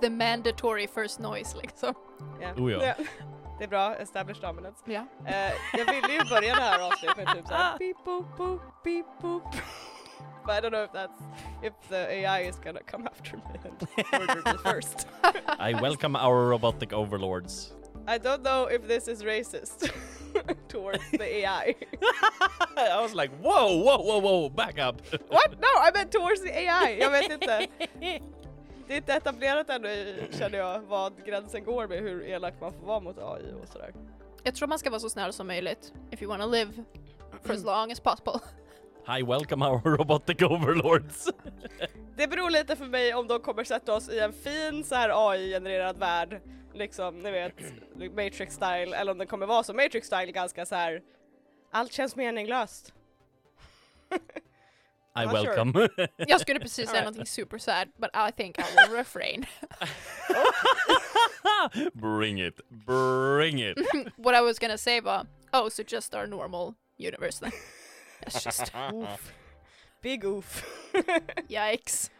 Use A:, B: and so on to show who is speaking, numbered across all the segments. A: The mandatory first noise liksom.
B: Ja.
C: Oh ja.
B: Det är bra, establish dominance.
A: Ja.
B: Eh, jag ville ju börja det här avsnittet med typ såhär beep boop boop beep boop. But I don't know if that's if the AI is gonna come after me and murder me first.
C: I welcome our robotic overlords.
B: I don't know if this is racist towards the AI.
C: I was like, whoa, whoa, whoa, whoa, back up.
B: What? No, I meant towards the AI. Jag vet inte. Det är inte etablerat ännu i, känner jag, vad gränsen går med hur elak man får vara mot AI och sådär.
A: Jag tror man ska vara så snäll som möjligt. If you wanna live for
B: Mm.
A: as long as possible.
C: Hi, welcome our robotic overlords.
B: Det beror lite för mig om de kommer sätta oss i en fin så här AI-genererad värld, liksom ni vet Matrix-style, eller om den kommer vara som Matrix-style ganska så här. allt känns meningslöst.
C: I
B: Ah, sure.
C: welcome.
A: Jag skulle precis säga
B: Alright.
A: någonting super sad, but I think I will refrain.
C: Bring it. Bring it.
A: What I was gonna say var, oh so just our normal universe then. That's just,
B: Oof. Big oof.
A: yikes.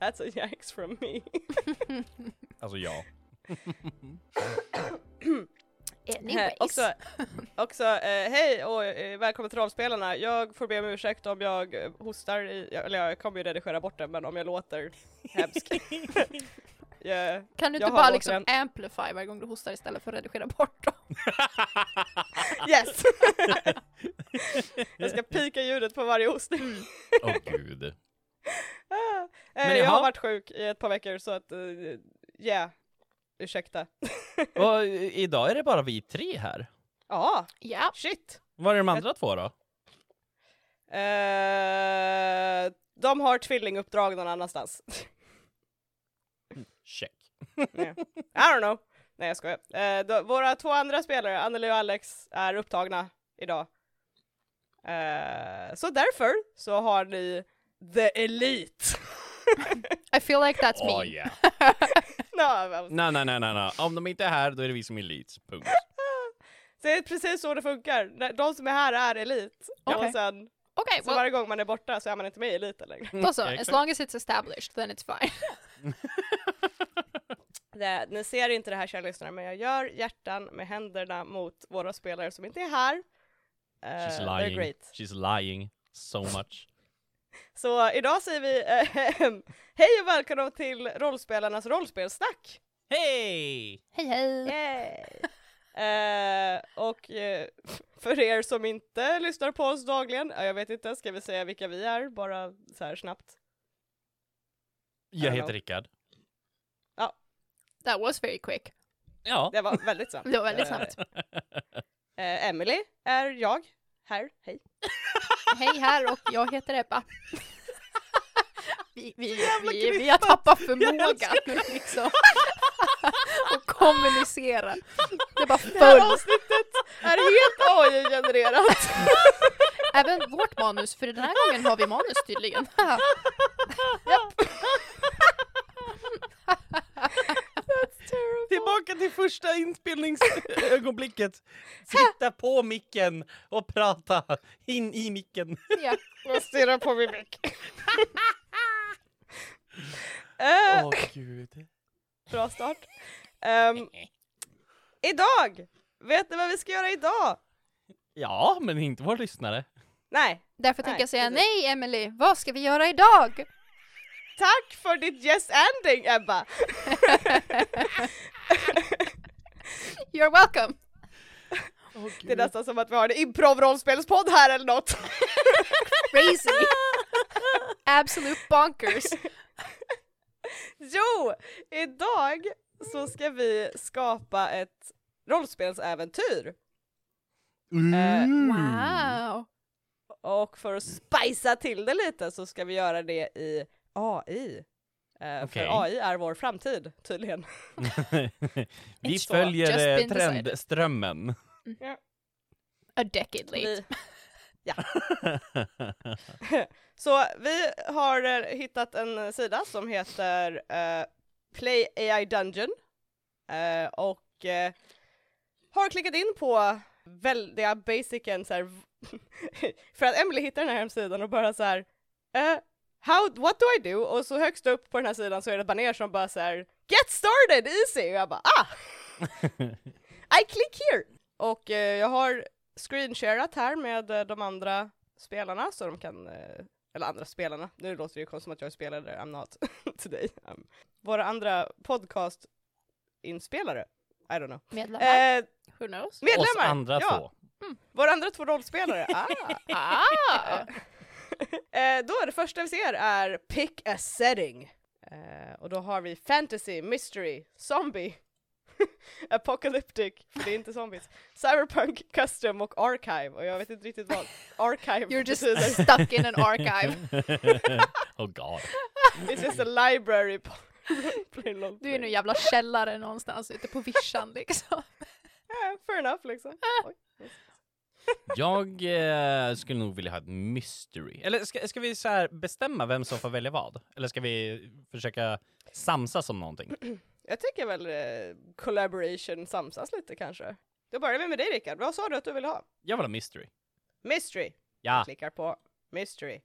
B: That's a yikes from me.
C: alltså ja.
B: Eh,
A: Anyways.
B: också, också eh, hej och eh, välkommen till Rollspelarna. Jag får be om ursäkt om jag eh, hostar, i, eller jag kommer ju redigera bort det, men om jag låter hemsk. Jag-
A: kan du
B: jag
A: inte bara
B: har också
A: liksom
B: en-
A: amplify varje gång du hostar istället för att redigera bort dem?
B: Yes! jag ska pika ljudet på varje hostning.
C: Mm. Åh gud.
B: Ah, eh,
C: Men
B: jag
C: jaha.
B: har varit sjuk i ett par veckor så att, ja, yeah. Ursäkta.
C: Och i- idag är det bara vi tre här.
B: Ja,
A: Ja.
B: shit!
C: Var är de andra två då?
B: Eh, de har tvillinguppdrag någon annanstans.
C: Check.
B: I don't know. Nej jag skojar. Eh, då, våra två andra spelare, Anneli och Alex, är upptagna idag. Eh, så därför så har ni The Elite.
A: I feel like that's
C: Åh
B: Oh,
A: me.
C: ja.
B: no, I was
C: Nej, nej, nej, nej, nej. Om de inte är här, då är det vi som är elites. Punkt.
B: Så det är precis så det funkar. När- De som är här är elit.
A: Okej.
B: Och sen,
A: Okej,
B: så Mm,
A: well,
B: varje gång man är borta så är man inte med i eliten längre.
A: då så.
C: Exakt.
A: As long as it's established then it's fine.
B: Det, ni ser inte det här kära lyssnare, men jag gör hjärtan med händerna mot våra spelare som inte är här. Eh,
C: She's
B: they're
C: lying.
B: great.
C: She's lying so much.
B: Så idag säger vi eh, hej och välkomna till rollspelarnas rollspelsnack!
C: Hej!
A: Hej hej!
B: Yay! Eh, och eh, för er som inte lyssnar på oss dagligen, ja, jag vet inte, ska vi säga vilka vi är bara så här snabbt?
C: Jag
B: Hello.
C: heter Rickard.
A: That was very quick.
C: Ja.
B: Det var väldigt snabbt.
A: Det var väldigt
B: Eh,
A: snabbt.
B: Eh, Emily är jag, här, hej.
A: Hej här och jag heter Ebba. Vi, vi,
B: Jävla
A: vi, vi har
B: krystat.
A: tappat
B: Jag
A: förmågan
B: älskar
A: liksom. och kommunicera. Det är bara
B: Det här
A: full.
B: avsnittet är helt AI-genererat.
A: Även vårt manus, för den här gången har vi manus tydligen.
C: Tillbaka till första inspelningsögonblicket. Sitta på micken och prata in i micken.
A: ja.
B: Jag stirrar på min mick.
C: Åh
B: Eh,
C: gud.
B: bra start. Ehm, idag! Vet ni vad vi ska göra idag?
C: Ja, men inte vår lyssnare.
B: Nej,
A: Därför
B: Nej,
A: tänker jag säga
B: precis.
A: nej Emily, vad ska vi göra idag?
B: Tack för ditt yes ending Ebba!
A: You're welcome!
B: Det
D: Mm.
B: är nästan som att vi har en improv-rollspelspodd här eller något.
A: Crazy! Absolute bonkers!
B: Jo, idag så ska vi skapa ett rollspelsäventyr. Eh,
A: Wow!
B: Och för att spicea till det lite så ska vi göra det i AI. Eh,
C: Okej.
B: För AI är vår framtid tydligen.
C: Vi
B: It's
A: all just
C: följer eh,
A: been decided.
C: trendströmmen.
A: A decade late.
B: Vi, så vi har eh, hittat en sida som heter eh, Play AI Dungeon eh, och eh, har klickat in på väldiga basicen så här, För att Emily hittar den här hemsidan och bara så här, eh, how, what do I do? Och så högst upp på den här sidan så är det ett baner som bara så här, get started easy! Och jag bara, ah! I click here! Och eh, jag har screensharat här med eh, de andra spelarna så de kan, eh, eller andra spelarna, nu låter det ju konstigt som att jag är spelare, I'm not today. Um, våra andra podcast-inspelare, I don't know.
A: Medlemmar?
B: Eh,
A: Who knows?
B: medlemmar!
D: Oss andra
B: ja.
D: två.
B: Våra andra två rollspelare, ah!
A: Ah!
B: Eh, då är det första vi ser är Pick a setting. Eh, och då har vi fantasy, mystery, zombie, apocalyptic, för det är inte zombies, cyberpunk, custom och archive. Och jag vet inte riktigt vad archive
A: You're just
B: betyder.
A: stuck in an archive.
D: oh god.
B: It's just a library. på- plain old
A: Du är nu
B: place.
A: jävla källare någonstans ute på vischan liksom.
B: Eh, fair enough liksom. Oj.
D: Jag eh, skulle nog vilja ha ett mystery. Eller ska, ska vi så här bestämma vem som får välja vad? Eller ska vi försöka samsas om någonting?
B: Jag tycker väl eh, collaboration samsas lite kanske. Då börjar vi med dig Rickard, vad sa du att du ville ha?
D: Jag vill ha mystery.
B: Mystery!
D: Ja.
B: Klickar på mystery.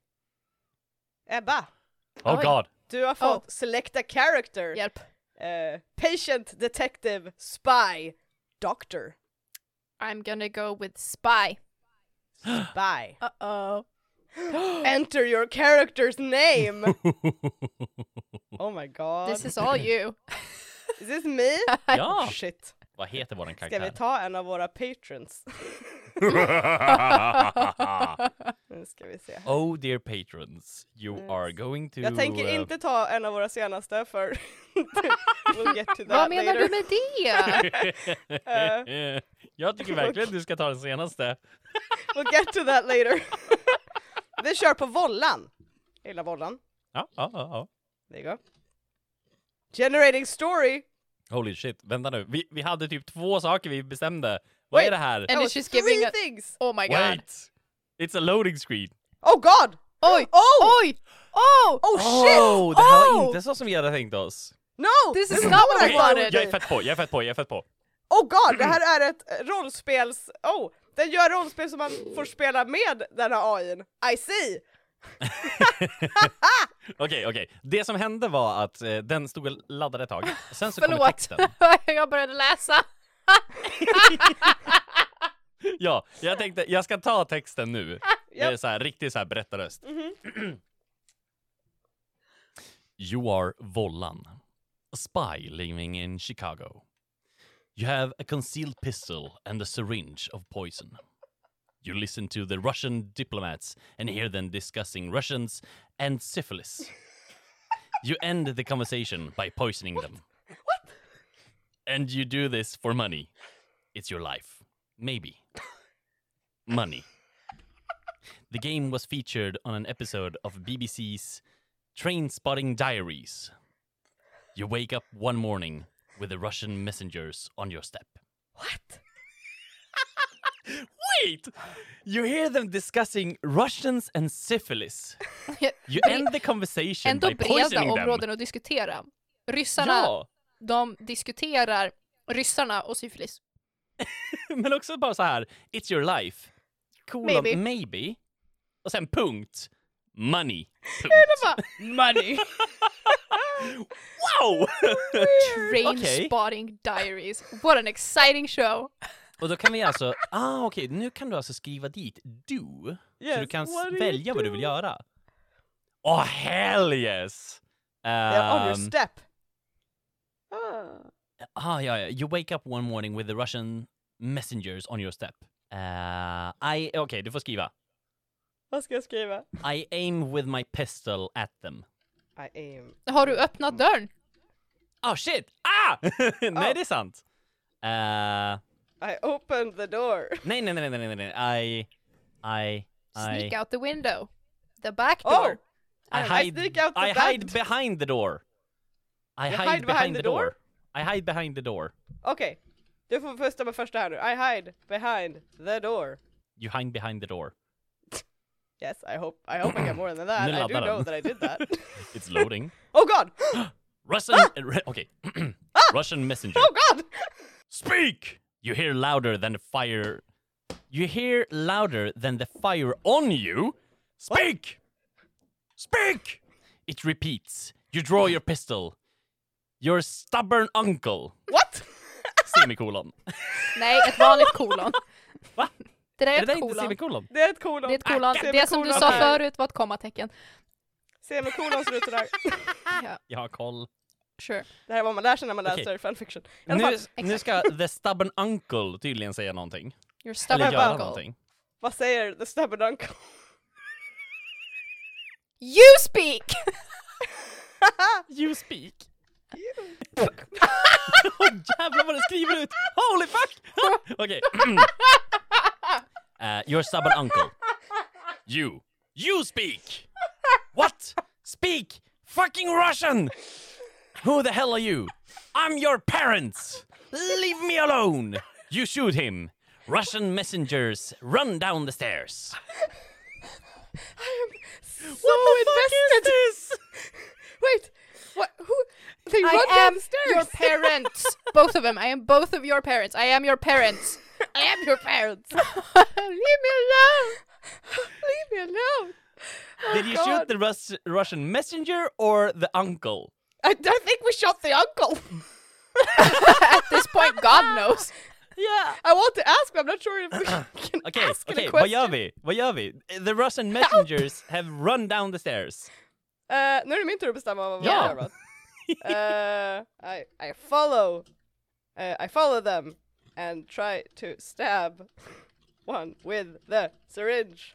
B: Ebba!
D: Oh
A: Oj.
D: god.
B: Du har fått select a character.
A: Hjälp.
B: Eh, patient, detective, spy, doctor,
A: I'm gonna go with spy.
B: spy.
A: Uh-oh.
B: Enter your character's name. oh my god.
A: This is all you.
B: Is this me? Ah.
D: ja.
B: Shit.
D: Vad heter våran
B: Ska vi
D: karaktär?
B: ta en av våra patrons? nu ska vi se.
D: oh dear patrons, you
B: Yes.
D: are going to...
B: Mm. Jag tänker
D: eh,
B: inte ta en av våra senaste för we'll get to that
A: Vad menar
B: later.
A: du med det?
D: jag tycker verkligen du ska ta den senaste.
B: We'll get to that later. vi kör på Vollan. Jag gillar Vollan.
D: Ja, ja, ja, ja.
B: There you go. Generating story.
D: Holy shit, vänta nu. Vi, vi hade typ två saker vi bestämde. Vad
B: Wait.
D: är det här?
A: And
B: Oh,
A: it's just
B: three
A: giving a-
B: things.
A: Oh my god.
D: Wait! It's a loading screen.
B: Oh god!
A: Oj!
B: Oh!
A: Oj! Oh!
B: Oh shit!
D: Oh, det här var
A: Oh!
D: inte så som vi hade tänkt oss.
B: No!
A: This is not what I
D: Okej,
A: wanted.
D: Jag är fett på, jag är fett på, jag är fett på.
B: Oh god, det här är ett eh, rollspels... Oh! Den gör rollspel som man får spela med den här AIn. I see!
D: Okej, okej. Det som hände var att eh, den stod och laddade ett tag, sen så kom
A: Förlåt.
D: texten.
A: jag började läsa.
D: Ja, jag tänkte jag ska ta texten nu. Det är
B: Japp.
D: så här, riktigt så här berättarröst. you are Vollan, a spy living in Chicago. You have a concealed pistol and a syringe of poison. You listen to the Russian diplomats and hear them discussing Russians and syphilis. you end the conversation by poisoning them. And you do this for money. It's your life. Maybe. Money. The game was featured on an episode of BBC's Train Spotting Diaries. You wake up one morning with the Russian messengers on your step.
B: What?
D: Wait! You hear them discussing Russians and syphilis. You end the conversation
A: Ändå
D: by
A: breda
D: poisoning them.
A: områden att diskutera. Ryssarna,
D: Ja,
A: de diskuterar ryssarna och syfilis.
D: men också bara så här. It's your life. Colon,
A: Maybe.
D: maybe. maybe. Och sen punkt. Money. Punkt.
A: Money.
D: Wow!
A: Train
D: Okej.
A: Spotting Diaries. What an exciting show!
D: Och då kan vi alltså, ah okej, nu kan du alltså skriva dit du, så du
B: Yes,
D: kan s-
B: what do you
D: välja vad du
B: do?
D: vill göra. Åh oh, hell yes!
B: They're on your
D: Ehm,
B: step. Ah.
D: Ah, yeah, yeah. You wake up one morning with the Russian messengers on your step. Uh, I okay, du får skriva.
B: Vad ska jag skriva?
D: I aim with my pistol at them.
B: I aim.
A: Har du
D: Mm.
A: öppnat dörren?
D: Oh shit! Ah! nej, det är sant. Eh,
B: I opened the door.
D: nej, nej, nej, nej, nej, nej. I, I, I,
A: Sneak out the window. The back
B: Oh!
A: door.
D: I
B: I
D: hide.
B: sneak out the
D: I
B: back
D: hide behind the door. I hide, behind, the door. I hide behind the door.
B: Okej, du får bestämma första här nu. I hide behind the door.
D: You hide behind the door.
B: Yes, I hope I, hope I get more than that.
D: Nu
B: I do
D: laddar
B: know
D: den.
B: that I did that.
D: It's loading.
B: oh god!
D: Russian. uh, re- okay. Russian messenger.
B: Oh god!
D: Speak! You hear louder than the fire You hear louder than the fire on you. Speak! Speak! It repeats. You draw your pistol. Your stubborn uncle.
B: What?
D: Semikolon.
A: Nej, ett vanligt kolon.
D: Va?
A: Det där
D: Är
A: är
D: det där
A: ett
D: inte
A: kolon.
D: semikolon?
B: Det är ett kolon.
A: Det är ett kolon.
B: Ah,
A: Det som du sa
B: semikolon.
A: förut var ett kommatecken.
B: Semikolon ser ut sådär.
A: Ja,
D: Jag har koll.
A: sure.
B: Det här är vad man lär sig när man läser
D: Okej.
B: fanfiction. I alla
D: Nu,
B: fall,
D: nu ska the stubborn uncle tydligen säga någonting.
A: You're
D: Eller
A: stubborn
D: göra
A: uncle.
D: någonting.
B: vad säger the stubborn uncle?
A: You speak!
D: You speak. Åh jävlar vad det skriver ut! Holy fuck! Okej. uh, your stubborn uncle. You. You speak! What? Speak! Fucking Russian! Who the hell are you? I'm your parents! Leave me alone! You shoot him. Russian messengers run down the stairs.
B: So invested! Wait! What? Who? They
A: I
B: run
A: am
B: downstairs!
A: your parents! both of them. I am both of your parents. I am your parents. I am your parents. Leave me alone!
B: Leave me alone!
D: Did you shoot
B: God.
D: the Rus- Russian messenger or the uncle?
B: I, I think we shot the uncle!
A: At this point, God knows.
B: Yeah! I want to ask, but I'm not sure if we can
D: Okej,
B: ask
D: okej,
B: any
D: vad
B: question.
D: gör vi? Vad gör vi? The Russian messengers have run down the stairs.
B: Eh, nu är det min tur att bestämma vad
D: Ja.
B: jag gör då. Eh, I, I follow eh, I follow them and try to stab one with the syringe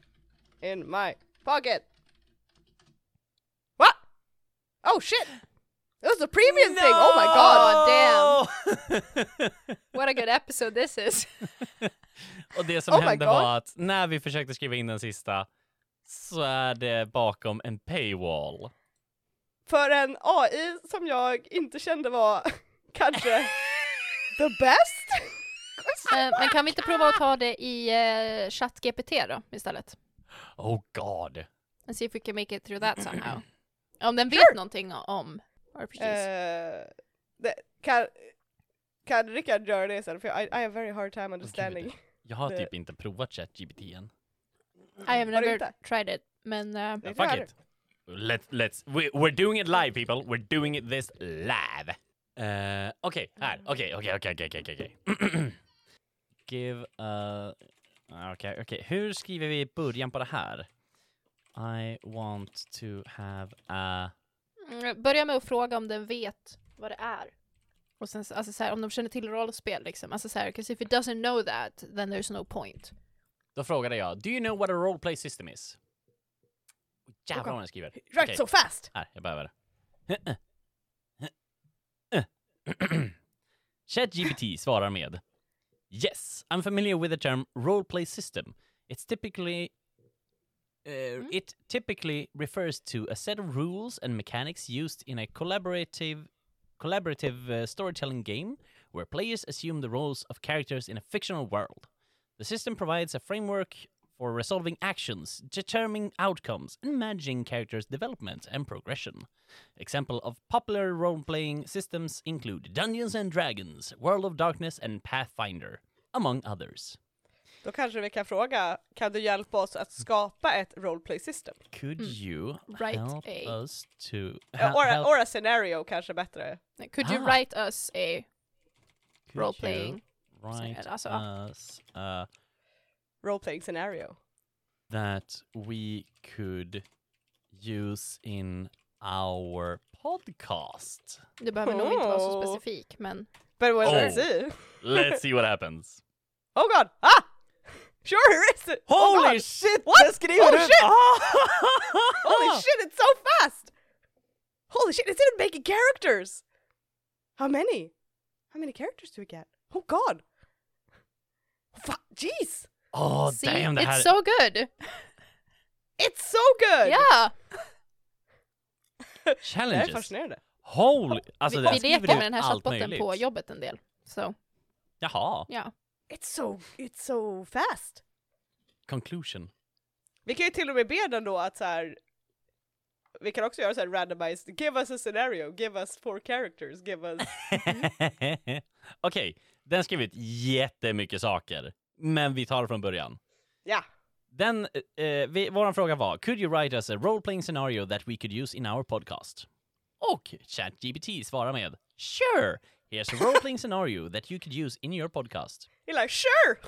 B: in my pocket. What? Oh shit! It was a premium thing! Oh my god!
A: God,
D: damn!
A: What a good episode this is.
D: Och det som
B: Oh my
D: hände
B: God.
D: var att när vi försökte skriva in den sista så är det bakom en paywall.
B: För en AI som jag inte kände var kanske the best?
A: Eh, men kan vi inte prova att ta det i eh, ChatGPT då istället?
D: Oh god.
A: And see if we can make it through that somehow. Om den vet någonting o- om RPGs.
B: Eh, det, kan, kan Rickard göra det sen? För jag I, I have very hard time understanding.
D: Jag har
B: Det-
D: typ inte provat ChatGPT än.
A: I have
B: Mm. Har du
A: never
B: inte?
A: tried it. Men eh,
B: Det
D: Fuck
B: där.
D: it. Let, let's, we, we're doing it live people, we're doing it this live. Eh, Okej, här. Okej, okej, okej, okej, okej, okej. Give a... Okej, okej. Hur skriver vi början på det här? I want to have a...
A: mm, börja med att fråga om den vet vad det är. Och sen så- alltså, så här, om de känner till rollspel liksom. Alltså så här, 'cause if it doesn't know that then there's no point.
D: Då frågade jag, do you know what a role play system is? Åh, Jävlar vad den skriver.
B: Right
D: Okej.
B: so fast!
D: Här, Ah, jag behöver. ChatGPT svarar med Yes, I'm familiar with the term role play system. It's typically uh, it typically refers to a set of rules and mechanics used in a collaborative collaborative uh, storytelling game where players assume the roles of characters in a fictional world. The system provides a framework for resolving actions, determining outcomes, and managing characters' development and progression. Example of popular role-playing systems include Dungeons and Dragons, World of Darkness, and Pathfinder, among others.
B: Då kanske vi kan fråga, kan du hjälpa oss att skapa ett roleplay system?
D: Could you
A: Right,
D: help
A: eh.
D: us to
B: Eh,
D: he-
B: Hmm. Or, a,
D: help-
B: or a scenario kanske bättre.
A: Could you
D: Ah.
A: write us a
D: could you
A: role-playing?
D: Write
A: alltså.
D: us uh,
B: Roleplaying scenario.
D: that we could use in our podcast.
A: Du behöver nog inte vara så
B: Oh.
A: specifik men
B: But we'll
D: Oh.
B: see.
D: Let's see what happens.
B: Oh god! Ah! Sure here is it! oh
D: Holy
B: god.
D: shit!
B: What?
D: Det skriver
B: Oh
D: du-
B: shit!
D: Ah!
B: Holy shit, it's so fast! Holy shit, it's even making characters! How many? How many characters do we get? Oh god! Fuck, jeez!
D: Åh,
A: see,
D: Ah, damn, det här...
A: it's so good!
B: It's so good!
A: Yeah!
B: Det här är
D: Challenges.
B: fascinerande.
D: Holy... Alltså,
A: Vi,
D: den
A: vi
D: skriver
A: leker
D: ut
A: med den här
D: allt
A: chattbotten
D: möjligt.
A: på jobbet en del. Så,
D: Jaha.
A: ja.
B: It's so, it's so fast.
D: Conclusion.
B: Vi kan ju till och med be den då att så här. Vi kan också göra så här randomized, give us a scenario, give us four characters, give us...
A: Mm.
D: Okej, den skriver ut jättemycket saker. men vi tar det från början.
B: Ja.
D: Den, eh, vi, våran fråga var, could you write us a role-playing scenario that we could use in our podcast? Och ChatGPT svarar med, sure, here's a role-playing scenario that you could use in your podcast.
B: You're like sure!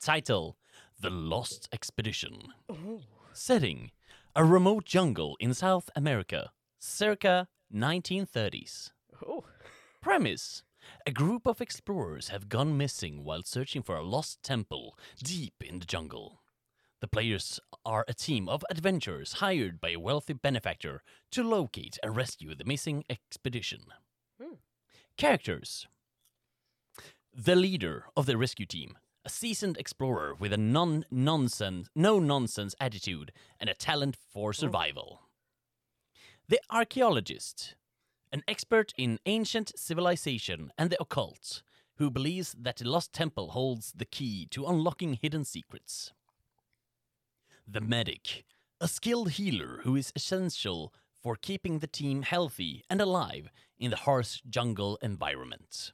D: Title The Lost Expedition. Setting A remote jungle in South America, circa 1930s.
B: Oh.
D: Premise A group of explorers have gone missing while searching for a lost temple deep in the jungle. The players are a team of adventurers hired by a wealthy benefactor to locate and rescue the missing expedition. Characters The leader of the rescue team, a seasoned explorer with a non nonsense, no nonsense attitude and a talent for survival. The archaeologist, an expert in ancient civilization and the occult, who believes that the lost temple holds the key to unlocking hidden secrets. The medic, a skilled healer who is essential for keeping the team healthy and alive in the harsh jungle environment.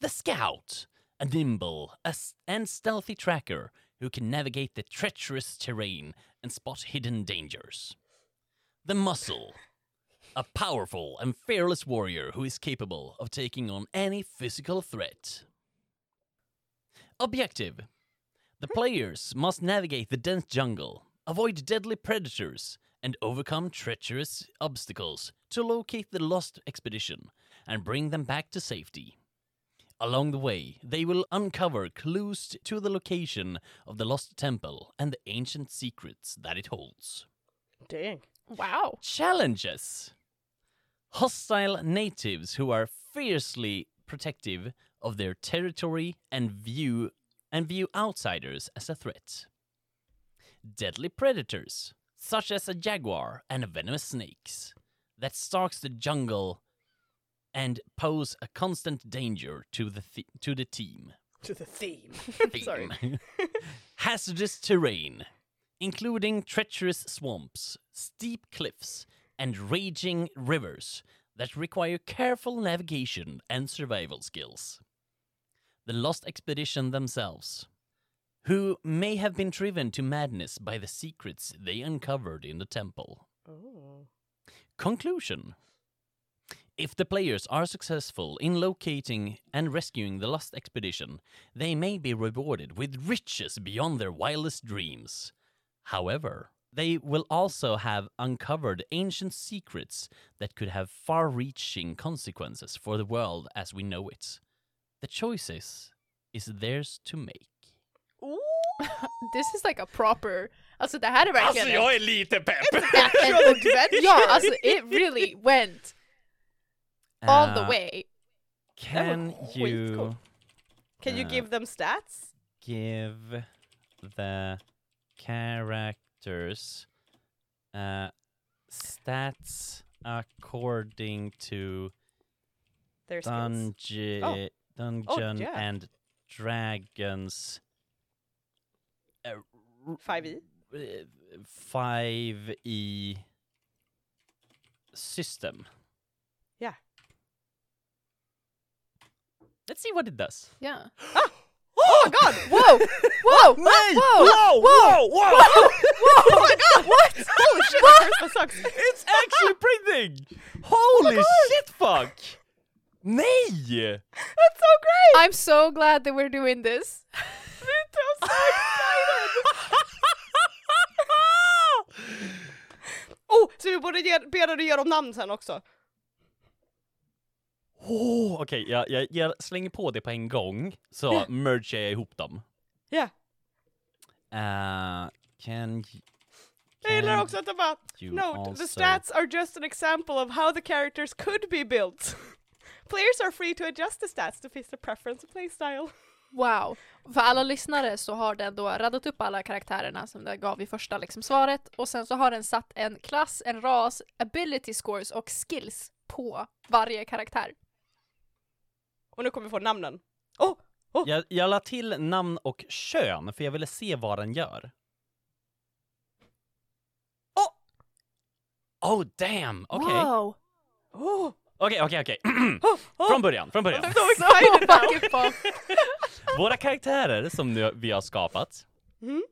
D: The scout, a nimble a s- and stealthy tracker who can navigate the treacherous terrain and spot hidden dangers. The muscle, a powerful and fearless warrior who is capable of taking on any physical threat. Objective The players must navigate the dense jungle, avoid deadly predators, and overcome treacherous obstacles to locate the lost expedition and bring them back to safety. Along the way, they will uncover clues to the location of the lost temple and the ancient secrets that it holds.
B: Dang.
A: Wow.
D: Challenges Hostile natives who are fiercely protective of their territory and view and view outsiders as a threat. Deadly predators, such as a jaguar and a venomous snakes, that stalks the jungle and pose a constant danger to the thi- to the team.
B: To the theme. Sorry.
D: Theme. Hazardous terrain, including treacherous swamps, steep cliffs, and raging rivers that require careful navigation and survival skills. The lost expedition themselves, who may have been driven to madness by the secrets they uncovered in the temple.
B: Oh.
D: Conclusion If the players are successful in locating and rescuing the lost expedition, they may be rewarded with riches beyond their wildest dreams. However, they will also have uncovered ancient secrets that could have far reaching consequences for the world as we know it. The choices is theirs to make.
B: Ooh.
A: This is like a proper... Alltså det här är verkligen...
D: är lite pepp!
A: That and adventure! Ja, alltså it really went all the way.
D: Uh, Can
B: Det var
D: you
B: skitcoolt. Can you
D: Uh.
B: give them stats?
D: give the characters uh, stats according to
B: Their skills.
D: dungeon,
B: Oh.
D: dungeon
B: yeah.
D: and dragons uh, r-
B: 5e.
D: uh, 5e E system.
B: Yeah.
D: Let's see what it does.
A: Ja.
B: Oh my god!
A: Wow! Wow!
D: Nej!
A: Wow!
D: whoa, whoa, whoa.
B: oh my god! What? Holy shit, the first one sucks. Oh
D: It's actually printing! Holy shit fuck! Nej!
B: That's so great!
A: I'm so glad that we're doing this.
B: I'm so excited! oh, så vi borde ge, be dig att ge dem namn sen också.
D: Oh, Okej, jag, jag, jag slänger på det på en gång, så mergear jag ihop dem.
B: Ja.
D: Uh, can y-
B: Jag gillar
D: can
B: också att de bara,
D: you
B: note,
D: also-
B: the stats are just an example of how the characters could be built. Players are free to adjust the stats to fit their preference and playstyle.
A: Wow. För alla lyssnare så har den då radat upp alla karaktärerna som den gav i första liksom svaret och sen så har den satt en klass, en ras, ability scores och skills på varje karaktär.
B: Och nu kommer vi få namnen. Oh! Oh!
D: Jag, jag la till namn och kön, för jag ville se vad den gör. Oh! Oh damn! Okej.
A: Wow!
B: Oh!
D: Okej, okej, okej.
B: Oh, oh,
D: Från början, från början.
B: I'm so excited now!
A: fucking fuck.
D: Våra karaktärer som nu vi har skapat.
B: Mm.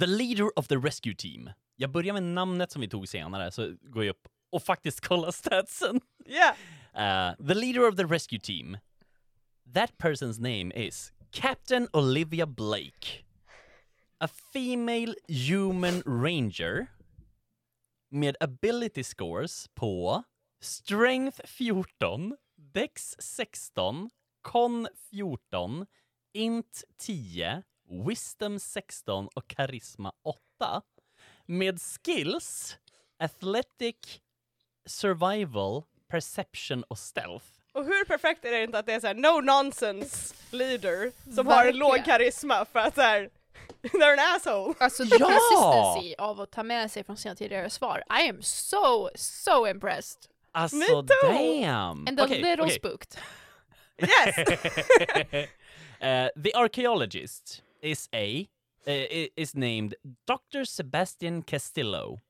D: The leader of the rescue team. Jag börjar med namnet som vi tog senare, så går jag upp och faktiskt kollar statsen.
B: Yeah!
D: Uh, the leader of the rescue team. That person's name is Captain Olivia Blake. A female human ranger med ability scores på Strength 14, Dex 16, Con 14, Int 10, Wisdom 16 och Karisma 8. Med skills Athletic survival, perception och stealth.
B: Och hur perfekt är det inte att det är såhär no nonsense leader som har en
A: Verkligen.
B: låg karisma för att såhär, they're an asshole!
A: Alltså the
D: Ja!
A: consistency av att ta med sig från sina tidigare svar. I am so, so impressed.
B: Me
D: Alltså
B: too!
D: damn!
A: And a
D: Okej,
A: little
D: okej.
A: spooked.
B: Yes!
D: Eh, the archaeologist is a eh, i- is named Dr. Sebastian Castillo.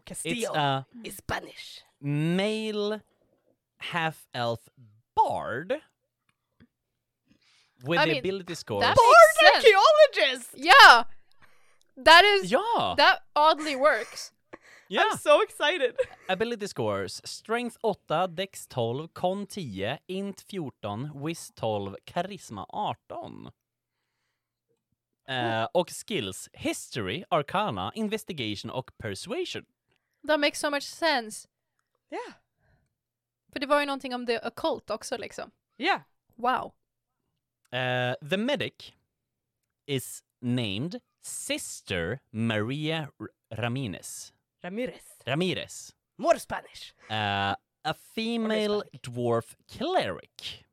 D: It's uh,
B: Castile!
D: a
B: It's Spanish!
D: male half-elf bard with
A: I
D: the
A: mean,
D: ability score.
A: That
B: Bard
A: makes sense.
B: archaeologist!
A: Yeah! That is,
D: Ja!
A: that oddly works.
D: ja.
B: I'm so excited!
D: Ability scores. Strength 8, Dex 12, Con 10, Int 14, Wiz 12, Karisma 18. Eh, och skills. History, Arcana, Investigation och Persuasion.
A: That makes so much sense.
B: Yeah!
A: För det var ju någonting om the occult också liksom.
B: Yeah!
A: Wow.
D: Eh, the medic is named Sister Maria R- Ramirez.
B: Ramirez!
D: Ramirez.
B: More Spanish!
D: Eh, a female
B: Hispanic.
D: dwarf cleric.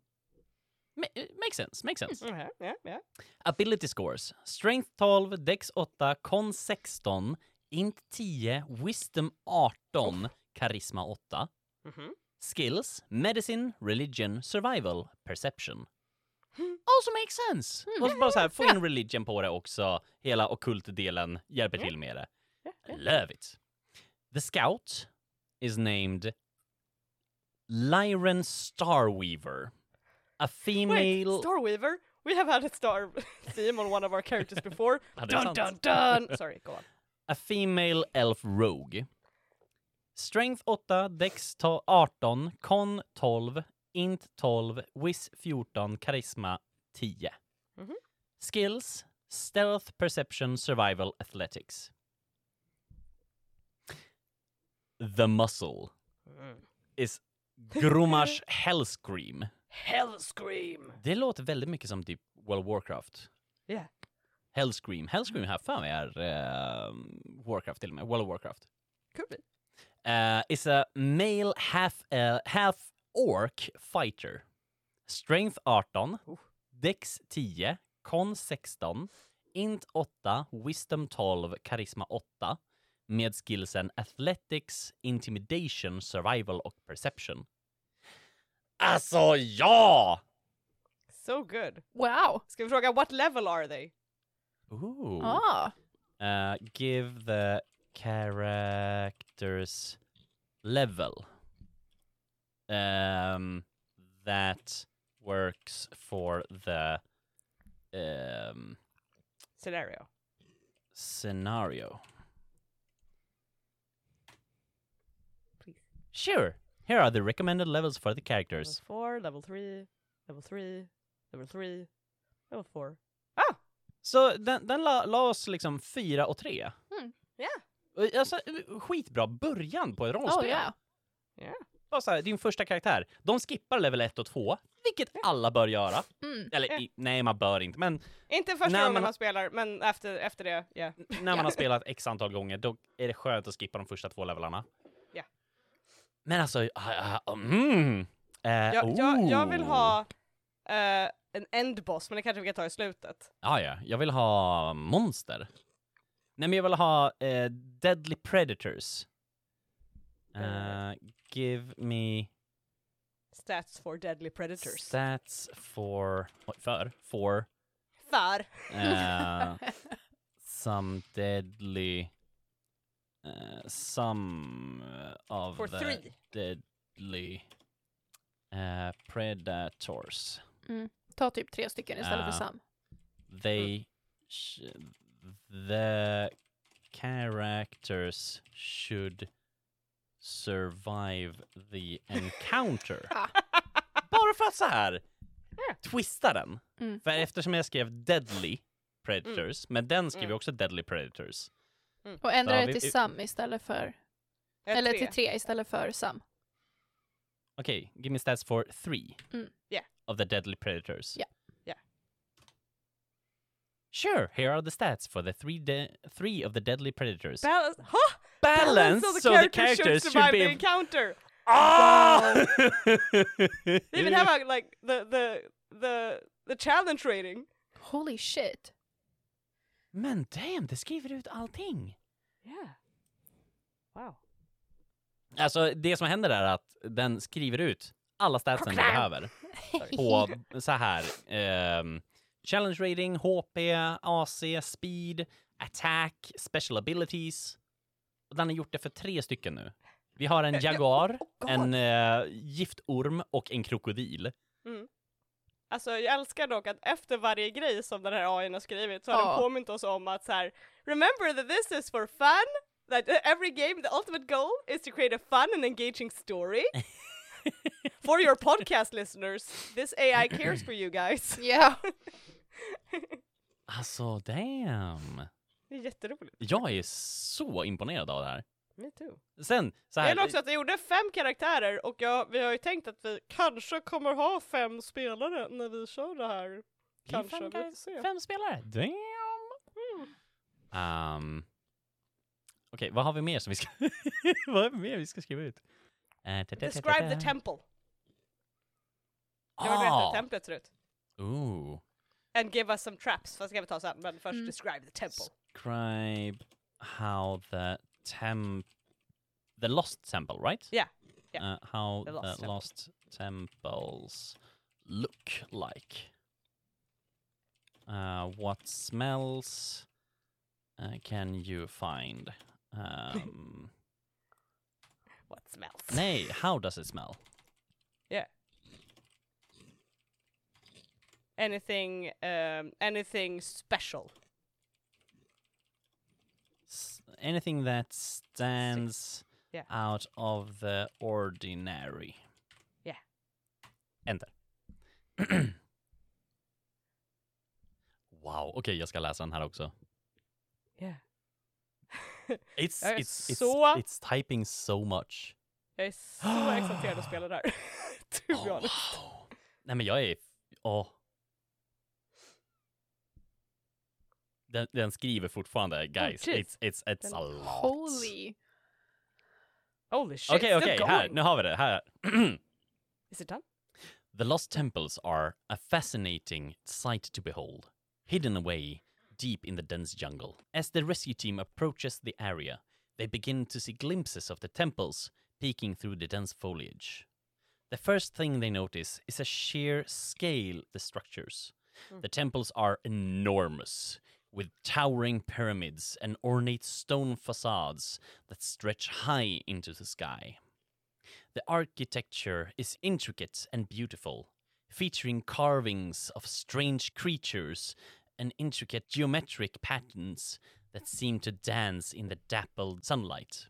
D: Ma- eh, makes sense, makes sense.
B: Mhm, yeah, yeah.
D: Ability scores. Strength 12, Dex 8, Con 16, Int 10, Wisdom 18, Karisma 8.
B: Mhm.
D: Skills, Medicine, Religion, Survival, Perception. Also makes sense! Och så bara så här, få in religion på det också. Hela ockult-delen hjälper till med det. Love it! The scout is named Lyran Starweaver. A
B: Wait,
D: female...
B: Starweaver? We have had a star theme on one of our characters before.
D: Ja, det är
B: dun
D: sant.
B: dun dun! Sorry, go on.
D: A female elf rogue. Strength 8, Dex to- 18, Con 12, Int 12, Wiz 14, Karisma 10.
B: Mhm.
D: Skills, Stealth, Perception, Survival, Athletics. The Muscle is Grumash Hellscream.
B: Hell scream!
D: Det låter väldigt mycket som typ World of Warcraft.
B: Yeah.
D: Hellscream. Hellscream här för mig är eh, Warcraft till och med. World of Warcraft.
B: Could be.
D: uh, is a male half uh, half orc fighter. Strength 18,
B: Oh.
D: Dex 10, Con 16, Int 8, Wisdom 12, Karisma 8 med skillsen Athletics, Intimidation, Survival och Perception. Alltså ja!
B: So good.
A: Wow.
B: Ska vi fråga, what level are they?
D: Ooh.
A: Ah.
D: Uh, give the characters level. Um, that works for the um,
B: Scenario.
D: scenario. Sure. Here are the recommended levels for the
B: Level
D: characters.
B: 4, level 3, level 3, level 3, level 4. Ah!
D: Så den, den la, la oss liksom fyra och tre.
B: Yeah!
D: Och, Alltså, skitbra början på ett rollspel.
A: Oh yeah.
B: Yeah.
D: bara så här, din första karaktär, de skippar level 1 och 2, vilket alla bör göra.
A: Mm.
D: Eller i, nej, man bör inte, men
B: Inte första
D: Nej,
B: gången
D: men-
B: man spelar, men efter, efter det, yeah.
D: när man har spelat x antal gånger, då är det skönt att skippa de första två levelarna.
B: Ja.
D: Men alltså, ah, ah, mm. Eh,
B: Jag, jag, jag vill
D: oh.
B: ha eh, en endboss, men det kanske vi kan ta i slutet.
D: Ja, ja, jag vill ha monster. Nej, men jag vill ha eh, Deadly Predators. Eh, give me
B: Stats for deadly predators.
D: stats for... oj, För? For?
B: För.
D: Uh, some deadly. Uh, some uh, of
B: For
D: the
B: three.
D: deadly Eh, predators.
A: Ta typ tre stycken istället
D: Ah.
A: för Sam.
D: They...
B: Hmm.
D: Sh- the characters should survive the encounter.
A: Ah.
D: Bara för att så här twista den.
A: Mm.
D: För eftersom jag skrev deadly
B: Mm.
D: predators, men den skrev jag också deadly predators.
A: Och ändra
D: Ja,
A: det
D: vi-
A: till
D: vi-
A: Sam istället för...
B: Ett
A: eller
B: tre.
A: till tre istället för Sam.
D: Okej, give me stats for three
A: Mm.
B: Yeah.
D: of the deadly predators.
A: Yeah.
B: Yeah.
D: Sure, here are the stats for the three de- three of the deadly predators.
B: Balance, ha?
D: Balance, so the characters
B: should
D: should
B: survive
D: be-
B: the encounter.
D: Ah!
B: They even have a, like the the the the challenge rating.
A: Holy shit.
D: Men damn, det skriver ut allting.
B: Yeah. Wow.
D: Alltså det som händer är att den skriver ut alla statsen du behöver. På så här. ehm, challenge rating, HP, AC, speed, attack, special abilities. Och den har gjort det för tre stycken nu. Vi har en jaguar,
B: Oh God.
D: en eh, giftorm och en krokodil.
B: Alltså jag älskar dock att efter varje grej som den här AI har skrivit så har
A: Ja.
B: den påmint oss om att så här, remember that this is for fun, that uh, every game the ultimate goal is to create a fun and engaging story. for your podcast listeners, this AI cares for you guys.
A: Ja.
D: Alltså damn.
B: Det är jätteroligt.
D: Jag är så imponerad av det här.
B: Me too.
D: Sen så
B: Det
D: här.
B: gäller också att jag gjorde fem karaktärer och jag, vi har ju tänkt att vi kanske kommer ha fem spelare när vi kör det här.
D: Det är
B: Kanske,
D: fem,
B: vi får
D: guys,
B: se.
D: fem spelare. Damn. Um, Okej, vad har vi mer som vi ska... vad har vi mer vi ska skriva ut? Eh, ta- ta- ta- ta-
B: Describe
D: ta. Ah,
B: the temple. Jag vill veta hur templet ser ut.
D: Ooh.
B: And give us some traps, fast det kan vi ta sen. Men först
A: Mm.
B: describe the temple.
D: Describe how the temp... The lost temple, right?
B: Yeah, yeah.
D: Uh, how
B: The
D: the,
B: lost
D: lost,
B: temple.
D: temples look like. Uh, what smells uh, can you find? Um,
B: What smells?
D: nej, how does it smell?
B: Yeah. Anything, um, anything special.
D: s- anything that stands
B: Yeah.
D: out of the ordinary.
B: Yeah.
D: Enter. wow, okej jag ska läsa den här också.
B: Yeah.
D: It's,
B: Jag är
D: it's, it's,
B: Äh, så-
D: it's typing so much.
B: Jag är så exalterad att spela det här. to be
D: Oh,
B: honest.
D: wow. Nej men jag är, åh. Den, den skriver fortfarande, guys.
B: shit.
D: it's, it's, it's a lot.
A: Holy.
B: Holy shit,
D: Okej,
B: still
D: okej,
B: going.
D: här, nu har vi det, här.
B: Is it done?
D: The lost temples are a fascinating sight to behold, hidden away deep in the dense jungle. As the rescue team approaches the area, they begin to see glimpses of the temples peeking through the dense foliage. The first thing they notice is a sheer scale of the structures. The temples are enormous, with towering pyramids and ornate stone facades that stretch high into the sky. The architecture is intricate and beautiful, featuring carvings of strange creatures and intricate geometric patterns that seem to dance in the dappled sunlight.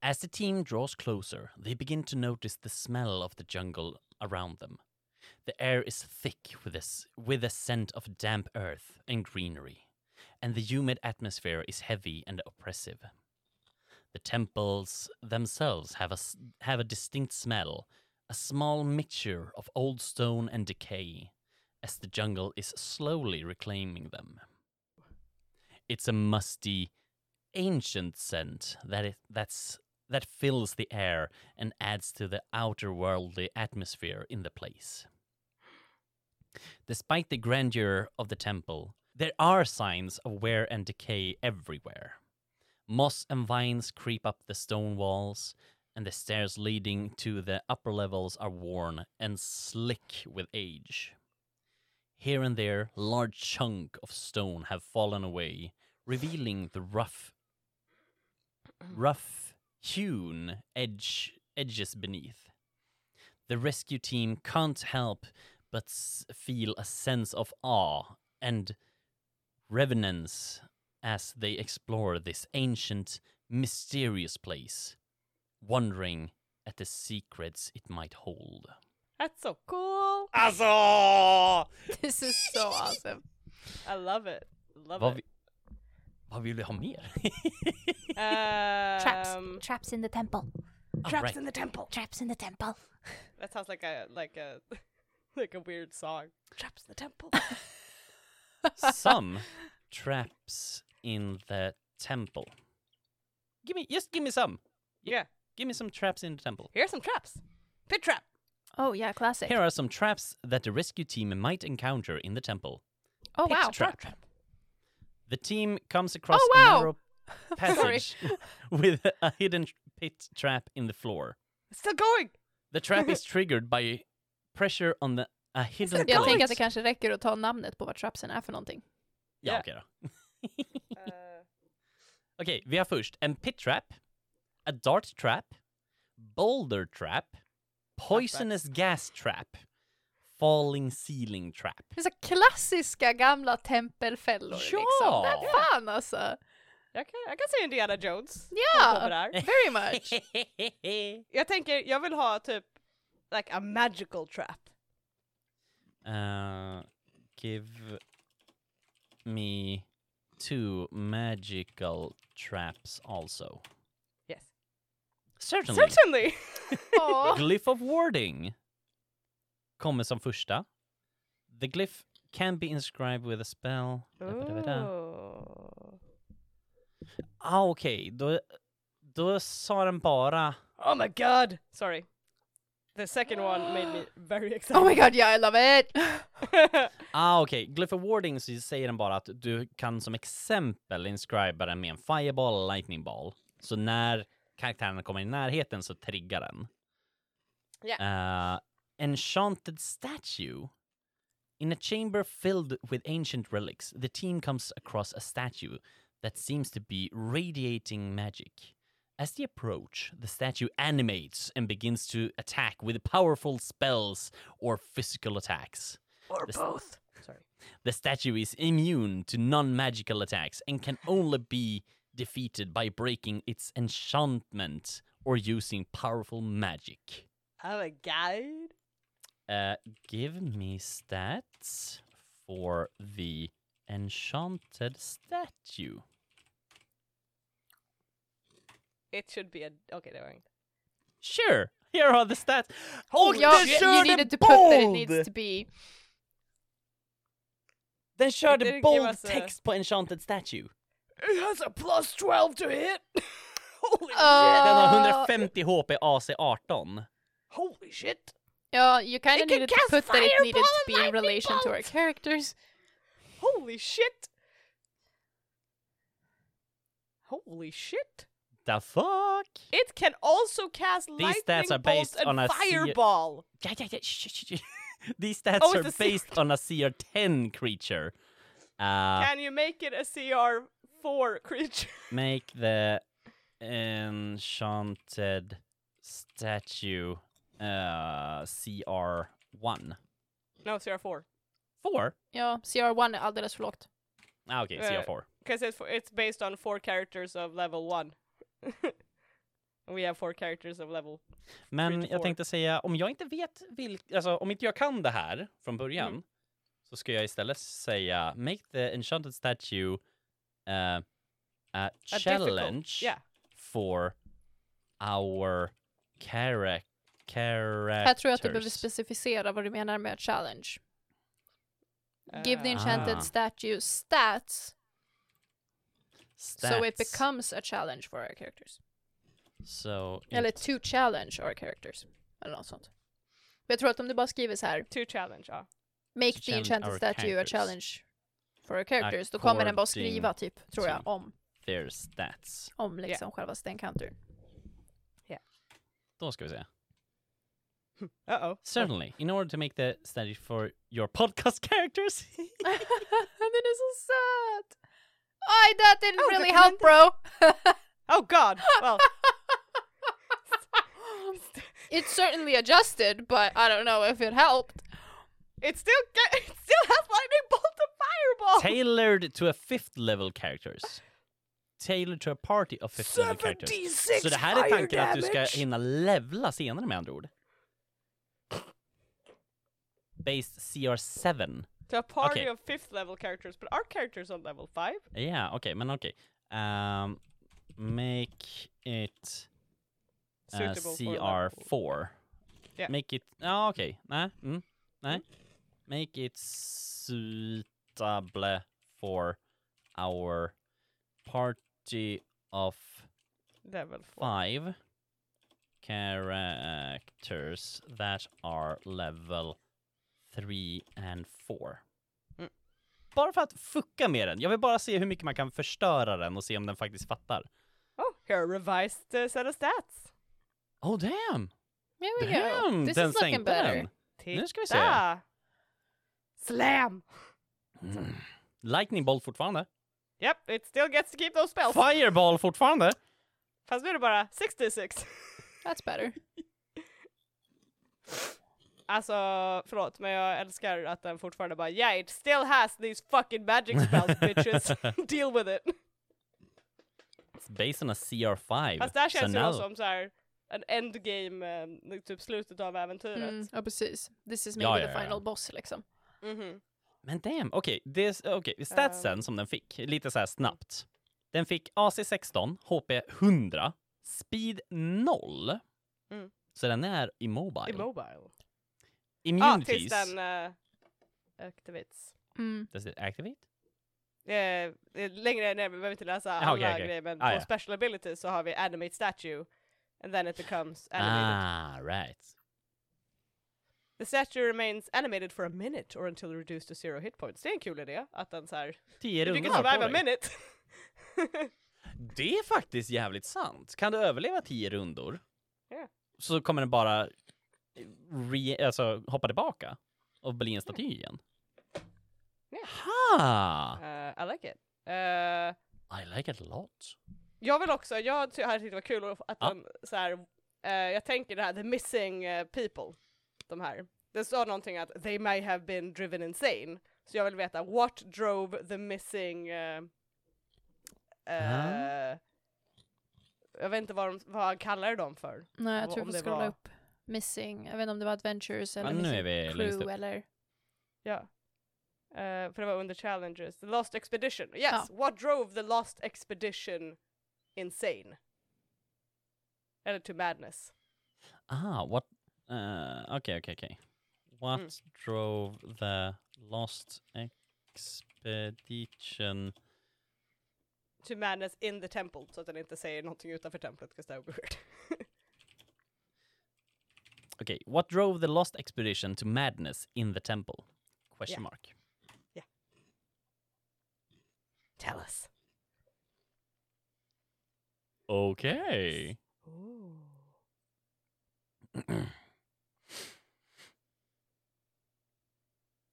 D: As the team draws closer, they begin to notice the smell of the jungle around them. The air is thick with a, s- with a scent of damp earth and greenery, and the humid atmosphere is heavy and oppressive. The temples themselves have a, s- have a distinct smell, a small mixture of old stone and decay, as the jungle is slowly reclaiming them. It's a musty, ancient scent that it, that's that fills the air and adds to the outer worldly atmosphere in the place. Despite the grandeur of the temple, there are signs of wear and decay everywhere. Moss and vines creep up the stone walls, and the stairs leading to the upper levels are worn and slick with age. Here and there, large chunk of stone have fallen away, revealing the rough, rough hewn edge edges beneath. The rescue team can't help but s- feel a sense of awe and revenance as they explore this ancient, mysterious place, wondering at the secrets it might hold.
B: That's so cool!
D: Alltså!
A: This is so awesome.
B: I love it. Love
D: Vad,
B: it.
D: vi, vad vill du ha mer?
E: Traps.
B: Um,
E: Traps in the temple.
B: traps
D: Alright.
B: in the temple.
E: Traps in the temple.
B: That sounds like a like a like a weird song. Traps in the temple.
D: some traps in the temple. Give me, just give me some.
B: yeah.
D: Give me some traps in the temple.
B: Here's some traps. Pit trap.
A: Oh yeah, classic.
D: Here are some traps that the rescue team might encounter in the temple.
A: oh wow.
D: trap. The team comes across
A: Oh, wow.
D: a narrow passage with a hidden pit trap in the floor.
B: It's still going.
D: The trap is triggered by pressure on the a hidden
A: Jag
D: plate.
A: tänker att det kanske räcker att ta namnet på vad trapsen är för någonting.
D: Ja, okej då.
B: Uh,
D: Okej, vi har först en pit trap, a dart trap, boulder trap, poisonous gas trap, falling ceiling trap.
A: Det är så klassiska gamla tempelfällor
D: Ja!
A: liksom. Men fan alltså.
B: jag, kan, jag kan se Indiana Jones.
A: Ja.
B: Kommer där.
A: Very much.
B: Jag tänker, jag vill ha typ like a magical trap.
D: uh, give me two magical traps also.
B: Yes.
D: Certainly.
B: Certainly!
A: Åh.
D: Glyph of Warding kommer som första. The glyph can be inscribed with a spell. Da-ba-da-ba-da.
B: Ooh.
D: Ah, okej. Då, då sa den bara...
B: Oh my god! Sorry. The second one made me very excited.
A: Oh my god, yeah I love it!
D: Ah, okej. Glyph of Warding så säger den bara att du kan som exempel inscriba den med en fireball eller lightning ball. Så när karaktären kommer i närheten så triggar den. Uh, enchanted statue. In a chamber filled with ancient relics, the team comes across a statue that seems to be radiating magic. As they approach, the statue animates and begins to attack with powerful spells or physical attacks.
B: Or
D: This-
B: both. Sorry.
D: The statue is immune to non magical attacks and can only be defeated by breaking its enchantment or using powerful magic.
B: I'm a guide.
D: Uh, give me stats for the enchanted statue.
B: It should be a... Okay, never mind.
D: Sure, here are the stats. Oh,
A: ja,
D: den
A: you
D: körde
A: needed to put that it
D: bold!
A: needs to be.
D: Den
B: didn't
D: körde
B: give
D: bold
B: us a-
D: text på enchanted statue.
B: It has a plus 12 to hit! holy,
D: Den har
A: Uh,
D: 150 HP AC 18.
B: holy shit!
A: yeah, you kind of
B: can
A: needed to
B: cast
A: put that it needed
B: fireball
A: to be
B: and
A: in
B: lightning
A: relation to our
B: bolt.
A: characters.
B: Holy shit! Holy shit!
D: The fuck?
B: It can also cast
D: These
B: lightning
D: stats are based
B: bolt
D: on
B: and
D: a sea-
B: fireball.
D: Yeah, yeah, yeah. Shh, shh, shh. These stats
B: Oh,
D: are
B: it's a CR.
D: based on a CR 10 creature. Uh,
B: Can you make it a CR four creature?
D: make the enchanted statue uh CR one.
B: no, CR four
D: Four?
A: Ja, CR1 är alldeles för lågt.
D: Ah, okay,
B: Uh,
D: CR four.
B: because it's it's based on four characters of level one. And we have four characters of level.
D: Men
B: Creed
D: jag
B: four.
D: tänkte säga, om jag inte vet vilk, alltså om inte jag kan det här från början
B: Mm.
D: så ska jag istället säga make the enchanted statue uh, a
B: A
D: challenge
B: Difficult. Yeah.
D: for our chara- characters.
A: Här tror jag att du behöver specificera vad du menar med challenge. Give the
B: Uh,
A: enchanted
D: Ah.
A: statue stats, so it
D: Stats.
A: becomes a challenge for our characters.
D: So
A: Eller
D: it-
A: to challenge our characters. Eller något sånt. Men jag tror att om du bara skriver så här,
B: two challenge. Ah.
A: make
D: To
A: the
D: challenge
A: enchanted
D: our
A: statue
D: characters.
A: a challenge for our characters, då kommer den bara
D: According
A: skriva typ, tror jag,
D: to-
A: om,
D: their stats.
A: om liksom själva encounter.
D: Då ska vi se.
B: Uh oh.
D: Certainly, in order to make the statue for your podcast characters.
A: den är så söt! Ay, that didn't
B: Oh,
A: really
B: the
A: help bro!
B: Oh god. Well.
A: It certainly adjusted, but I don't know if it helped.
B: It still ga- it still has lightning bolt and
A: Oh.
B: fireball.
D: Tailored to a fifth level characters. Tailored to a party of fifth level characters. Så det här är tanken att du ska hinna levla senare med andra ord. Based CR7.
B: to a party
D: Okay.
B: of fifth level characters, but our characters on level five.
D: Ja, okej, men okej. Um, make it uh,
B: Suitable for level.
D: CR4.
B: Yeah.
D: Make it... Ja, okej. Nej. Mm, nej. Make it suitable for our party of
B: Level four.
D: five characters that are level 3 and 4.
B: Mm.
D: Bara för att fucka med den. Jag vill bara se hur mycket man kan förstöra den och se om den faktiskt fattar.
B: Oh, here are revised uh, set of stats.
D: Oh damn!
A: There we go.
D: Damn!
A: This
D: den
A: is looking
D: sänkte
A: better.
D: den. Nu ska vi se.
B: Titta! Slam!
D: Lightning bolt fortfarande.
B: Yep, it still gets to keep those spells.
D: Fireball fortfarande.
B: Fast nu är det bara 66.
A: That's better.
B: Alltså, förlåt, men jag älskar att den fortfarande bara yeah, it still has these fucking magic spells bitches. Deal with it.
D: It's based on a CR5.
B: Fast det här
D: so
B: känns ju
D: now-
B: då som så här en endgame, eh, typ slutet av äventyret.
A: Mm, ja, precis. This is maybe
D: Ja,
A: the
D: ja, ja.
A: final boss liksom.
B: Mhm.
D: Men damn, okej. Okay. Okay. Statsen som den fick, lite
B: Mm.
D: så här snabbt. Den fick AC 16, HP 100, Speed 0.
B: Mm.
D: Så den är immobile.
B: Immobile. Ja, tills
D: Immunities.
B: den uh, activates.
A: Mm.
D: Does it activate?
B: Eh, eh, längre ner, vi behöver inte läsa
D: okej,
B: alla
D: okej.
B: grejer, men
D: Ah,
B: på
D: ja.
B: special ability så har vi animate statue, and then it becomes animated.
D: Ah, right.
B: The statue remains animated for a minute or until reduced to zero hit points. Det är en kul idé, att den såhär,
D: 10
B: if you
D: rundor
B: can
D: har på
B: survive a
D: dig.
B: minute.
D: Det är faktiskt jävligt sant. Kan du överleva 10 rundor
B: Ja.
D: så kommer den bara re, alltså, hoppa tillbaka och bli en staty igen.
B: Ja.
D: Ha!
B: Eh, I like it. Eh,
D: I like it a lot.
B: Jag vill också, jag ty- hade tyckt det var kul att
D: Ja.
B: den så här, eh, jag tänker det här the missing eh, people, de här. Det står någonting att they may have been driven insane. Så jag vill veta what drove the missing eh, eh, Jag vet inte vad, de, vad han kallar dem för.
A: Nej, jag
B: Vad
A: tror
B: om
A: vi
B: det
A: scrollar
B: var-
A: upp Missing. Jag vet inte om det var Adventures eller
D: Ja, nu är
A: Missing
D: vi längst upp.
A: Crew eller...
B: Ja. Eh, för det var under challenges. The lost expedition. Yes,
A: Ja.
B: what drove the lost expedition insane? Eller to madness.
D: Ah, what? Uh, okay, okay, okay. What drove the lost expedition?
B: to madness in the temple så att den inte säger någonting utanför templet, 'cause that would be weird.
D: Okay, what drove the lost expedition to madness in the temple? Question
B: Yeah.
D: mark.
B: Tell us.
D: Okay.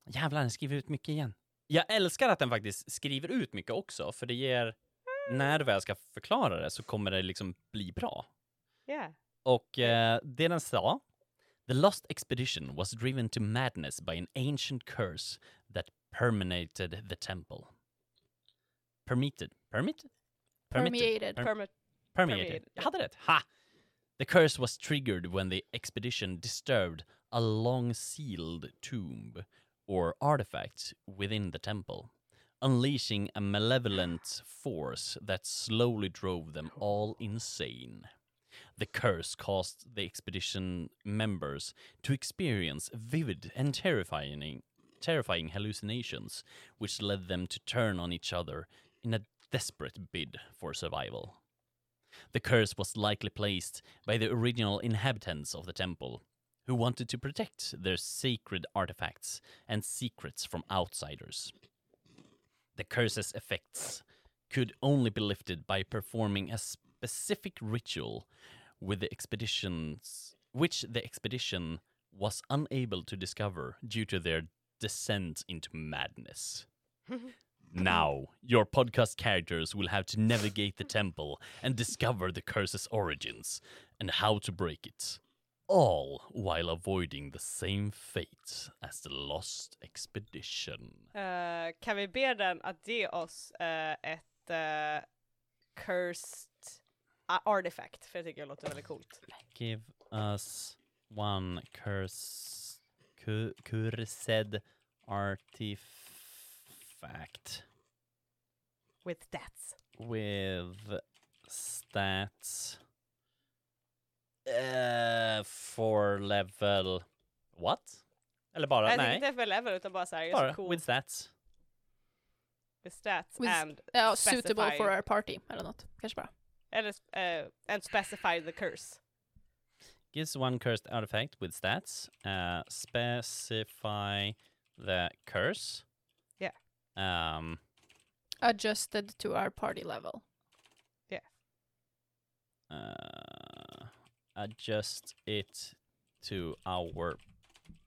D: Jävlar, den skriver ut mycket igen. Jag älskar att den faktiskt skriver ut mycket också, för det ger... När du väl ska förklara det så kommer det liksom bli bra.
B: Yeah.
D: Och eh, det den sa. The lost expedition was driven to madness by an ancient curse that permeated the temple. Permitted. Permitted?
A: Permeated.
D: Per-
B: Permit.
D: permeated.
B: permeated,
D: Jag hade rätt. Ha! The curse was triggered when the expedition disturbed a long sealed tomb or artifact within the temple, unleashing a malevolent force that slowly drove them all insane. The curse caused the expedition members to experience vivid and terrifying, terrifying hallucinations, which led them to turn on each other in a desperate bid for survival. The curse was likely placed by the original inhabitants of the temple, who wanted to protect their sacred artifacts and secrets from outsiders. The curse's effects could only be lifted by performing a specific ritual with the expeditions which the expedition was unable to discover due to their descent into madness. Now, your podcast characters will have to navigate the temple and discover the curse's origins and how to break it.
C: all while avoiding the same fate as the lost expedition.
B: Eh, kan vi be den att ge oss eh, ett eh, cursed a- artifact? För jag tycker det låter väldigt coolt.
D: Give us one curse, cu- cursed artifact
B: With stats.
D: with stats uh, for level what? Eller bara
B: Nej,
D: Uh, nej,
B: inte för level utan bara såhär, just
D: bara
B: cool
D: with
B: with,
D: stats.
B: stats
A: With s-
B: and
A: Ja,
B: specify,
A: suitable for our party eller något. Kanske bara.
B: eller, eh, and specify the curse.
D: Gives one cursed artifact with stats. Uh, specify the curse.
B: Yeah.
D: Um,
A: Adjusted to our party level.
D: uh, adjust it to our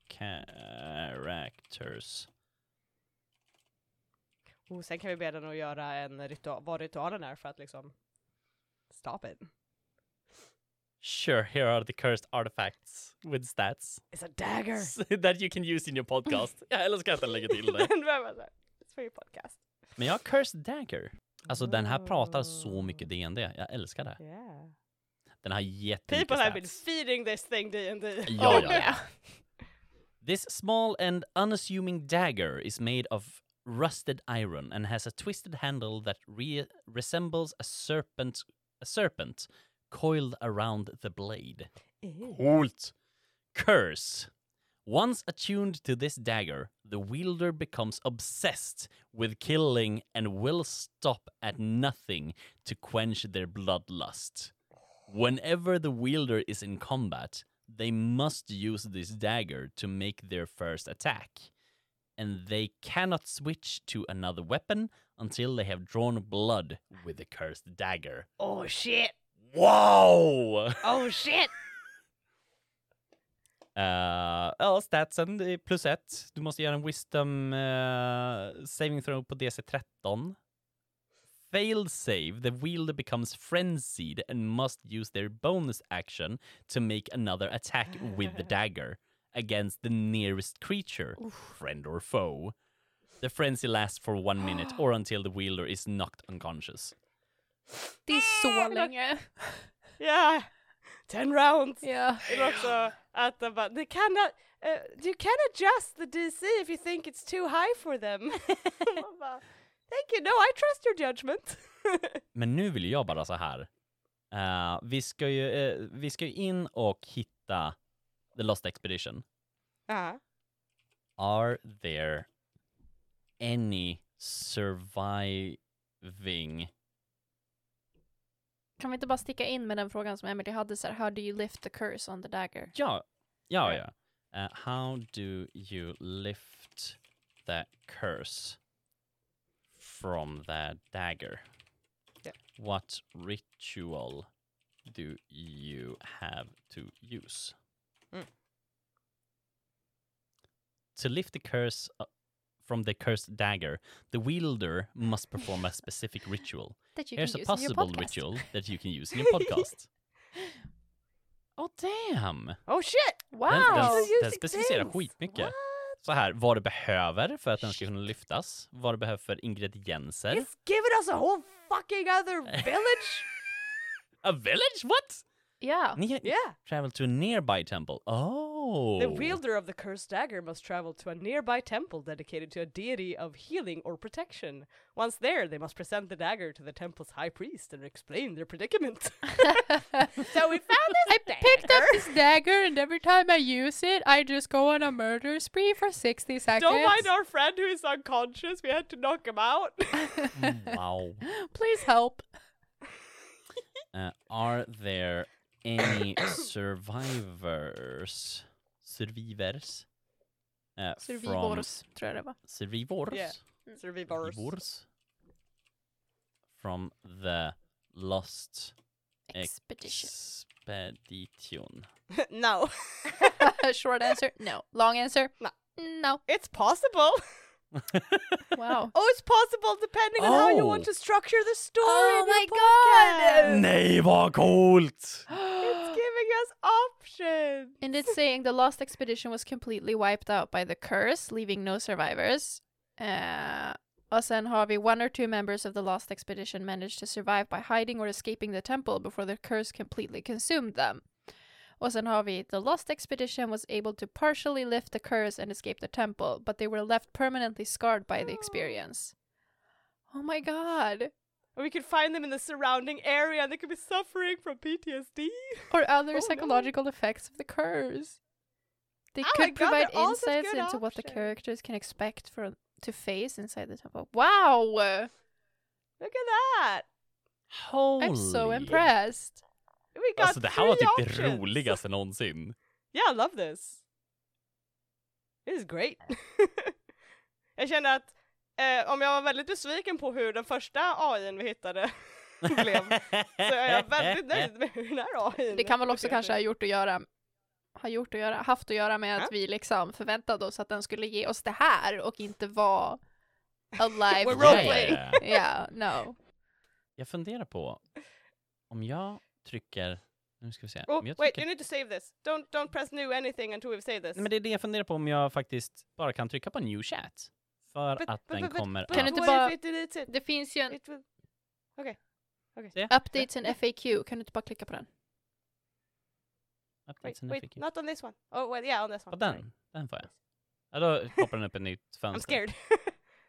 D: characters.
B: Oh, sen kan vi be den att göra en ritual, vad ritualen är för att liksom stop it.
D: Sure, here are the cursed artifacts with stats
B: It's a dagger!
D: that you can use in your podcast. ja, eller ska jag inte lägga till det?
B: Den behöver såhär, it's for your podcast.
D: Men jag har cursed dagger. Alltså den här pratar så mycket D&D. Jag älskar det.
B: Yeah.
D: Den har jättemycket
B: People have been
D: stats.
B: feeding this thing D&D.
D: Ja,
A: Oh
D: ja, ja. This small and unassuming dagger is made of rusted iron and has a twisted handle that re- resembles a serpent, a serpent coiled around the blade. Coolt. Curse. Once attuned to this dagger, the wielder becomes obsessed with killing and will stop at nothing to quench their bloodlust. Whenever the wielder is in combat, they must use this dagger to make their first attack, and they cannot switch to another weapon until they have drawn blood with the cursed dagger.
B: Oh shit!
D: Wow!
B: Oh shit!
D: Eh, ja, statsen det är plus ett. Du måste göra en wisdom eh, saving throw på DC13. Failed save, the wielder becomes frenzied and must use their bonus action to make another attack with the dagger against the nearest creature, friend or foe. The frenzy lasts for one minute or until the wielder is knocked unconscious.
A: Det är så länge.
B: Yeah! Ten rounds!
A: Ja.
B: Det var också att de bara, they cannot, uh, you can adjust the DC if you think it's too high for them. Man bara, Thank you, no I trust your judgment.
D: Men nu vill jag bara så här. Eh, vi, ska ju, eh, vi ska ju in och hitta The Lost Expedition.
B: Ja.
D: Are there any surviving?
A: Kan vi inte bara sticka in med den frågan som Emily hade så här, how do you lift the curse on the dagger?
D: Ja, ja,
B: Ja.
D: ja. Eh, how do you lift that curse from that dagger?
B: Ja.
D: What ritual do you have to use?
B: Mm.
D: To lift the curse uh, from the cursed dagger, the wielder must perform a specific ritual.
A: That you
D: Here's a
A: can use in your
D: possible
A: podcast.
D: ritual that you can use in your podcast. oh damn!
B: Oh shit!
A: Wow!
D: Den, den,
B: Using
D: den specificerar
B: things.
D: skitmycket.
B: What?
D: Så här, vad du behöver för att den ska kunna lyftas, vad du behöver för ingredienser.
B: It's giving us a whole fucking other village!
D: A village? What?
A: Ja.
D: Ni-
B: Oh, yeah!
D: Travel to a nearby temple. Oh!
B: The wielder of the cursed dagger must travel to a nearby temple dedicated to a deity of healing or protection. Once there, they must present the dagger to the temple's high priest and explain their predicament. so we found this
A: I picked up this dagger and every time I use it I just go on a murder spree for 60 seconds.
B: Don't mind our friend who is unconscious. We had to knock him out.
D: wow.
A: Please help.
D: Uh, are there any survivors? Survivors? Uh, from-
A: Survivors, tror jag det var.
D: Survivors?
B: Yeah. Survivors.
D: Survivors? From the lost
A: Expedition.
D: expedition.
B: no,
A: Short answer, no. Long answer,
B: No.
A: no.
B: it's possible.
A: Wow.
B: Oh, it's possible depending on how you want
D: Oh.
B: to structure the story.
A: Oh
B: in your
A: my god!
B: podcast.
D: Nej vad coolt!
B: It's giving us expedition!
A: And it's saying the lost expedition was completely wiped out by the curse, leaving no survivors. Eh, och sen har vi one or two members of the lost expedition managed to survive by hiding or escaping the temple before the curse completely consumed them. Och sen har vi the lost expedition was able to partially lift the curse and escape the temple, but they were left permanently scarred by the experience. Oh my god!
B: And we could find them in the surrounding area and they could be suffering from PTSD.
A: Or other
B: Oh, no.
A: psychological effects of the curse. They
B: Oh my
A: could
B: God, they're
A: provide
B: all such
A: insights
B: good
A: into what the
B: options.
A: characters can expect from to face inside the temple. Wow!
B: Look at that!
D: Holy.
A: I'm so impressed.
B: We got
D: Alltså det här var
B: three
D: typ det
B: options.
D: roligaste någonsin.
B: Yeah, I love this. It is great. jag känner att eh, om jag var väldigt besviken på hur den första AIn vi hittade blev, så är jag väldigt nöjd med hur den här AIn
A: Det kan väl också
B: beter
A: kanske ha
B: sig.
A: gjort att göra har gjort att göra, haft att göra med
B: Ja.
A: att vi liksom förväntade oss att den skulle ge oss det här och inte vara alive.
B: We're
A: today.
B: roleplay.
D: Yeah.
A: Yeah, no.
D: Jag funderar på om jag trycker... Nu ska vi se.
B: Oh,
D: om jag
B: wait,
D: trycker...
B: you need to save this. Don't, don't press new anything until we've saved this.
D: Nej, men det är det jag funderar på om jag faktiskt bara kan trycka på new chat. För
B: But-
D: att
B: but-
D: den
B: but- but-
D: kommer
B: but
A: Kan
D: att...
A: du inte
B: what if
A: bara-
B: it deletes it?
A: Det finns ju en
B: It will-
A: updates and FAQ, kan du inte bara klicka på den?
B: Wait,
D: Updates and
B: wait,
D: FAQ.
B: not on this one. Oh, well, yeah, on this one.
D: På
B: Sorry.
D: den. Den får jag. Ja, då poppar den upp ett nytt
B: I'm
D: fönster.
B: scared.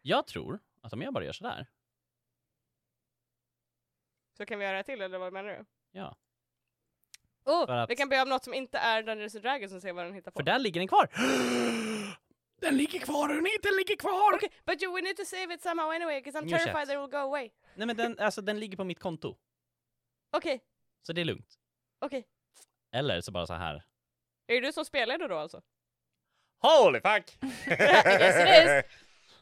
D: Jag tror att om jag bara gör sådär.
B: Så kan vi göra det till, eller vad menar du?
D: Ja. För
B: Oh,
D: att-
B: vi kan be om något som inte är Dungeons and Dragons och se vad den hittar på.
D: För där ligger den kvar. Den ligger kvar hörni, den ligger kvar!
B: Okay, but you, we need to save it somehow anyway, because I'm
D: New chat.
B: terrified that it will go away.
D: Nej men den, alltså, den ligger på mitt konto.
B: Okej,
D: Så det är lugnt.
B: okej.
D: Eller så bara så här.
B: Är det du som spelar då, då alltså?
D: Holy fuck!
A: Yes,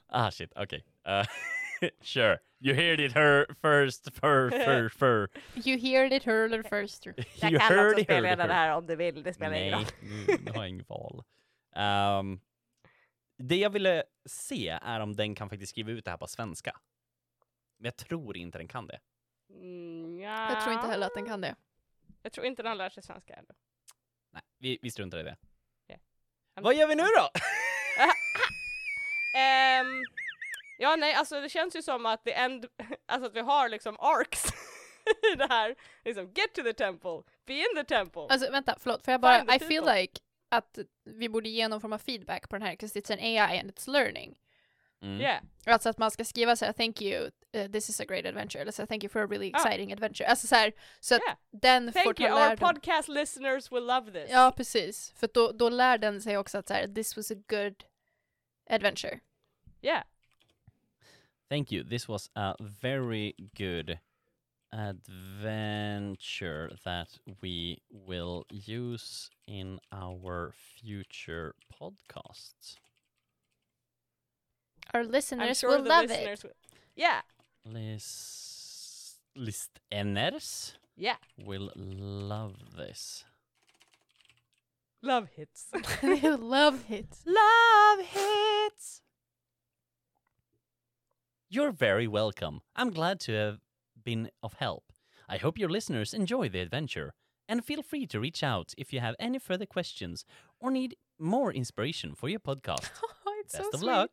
D: Ah shit, okej. Eh, sure, you heard it her first, fur, fur, fur.
A: You heard it hurler first.
D: You heard it heard her.
B: här om du vill, det
D: Nej, nu, nu har jag inget val. Ehm, det jag ville se är om den kan faktiskt skriva ut det här på svenska. Men jag tror inte den kan det.
B: Mm, ja.
A: Jag tror inte heller att den kan det.
B: Jag tror inte den lär sig svenska ännu.
D: Nej, vi, vi struntar i det.
B: Ja.
D: Vad gör vi nu då?
B: Ehm, ja, nej, alltså det känns ju som att the end, alltså att vi har liksom arcs i det här. Liksom, get to the temple, be in the temple.
A: Alltså vänta, förlåt, får jag
B: Find the
A: bara, I feel
B: people.
A: like att vi borde ge någon form av feedback på den här, 'cause it's an AI and it's learning.
D: Mm.
B: Yeah.
A: Alltså att man ska skriva så här, thank you, uh, this is a great adventure, eller så här, thank you for a really
B: Ja.
A: exciting adventure. Alltså så här, så att
B: Ah. Yeah.
A: den får
B: Thank
A: ta
B: you, our
A: lärdom.
B: podcast listeners will love this.
A: Ja, precis. För då, då lär den sig också att så här, this was a good adventure.
B: Yeah.
D: Thank you. This was a very good adventure that we will use in our future podcasts.
A: Our
B: I'm
A: listeners
B: sure
A: will
B: the
A: love it.
B: listeners will. Yeah,
D: Lis- listeners
B: yeah.
D: will love this.
B: Love hits.
A: They will love it.
D: Love hits. You're very welcome. I'm glad to have been of help. I hope your listeners enjoy the adventure. And feel free to reach out if you have any further questions or need more inspiration for your podcast.
A: it's
D: Best
A: Oh, so
D: of
A: sweet.
D: luck.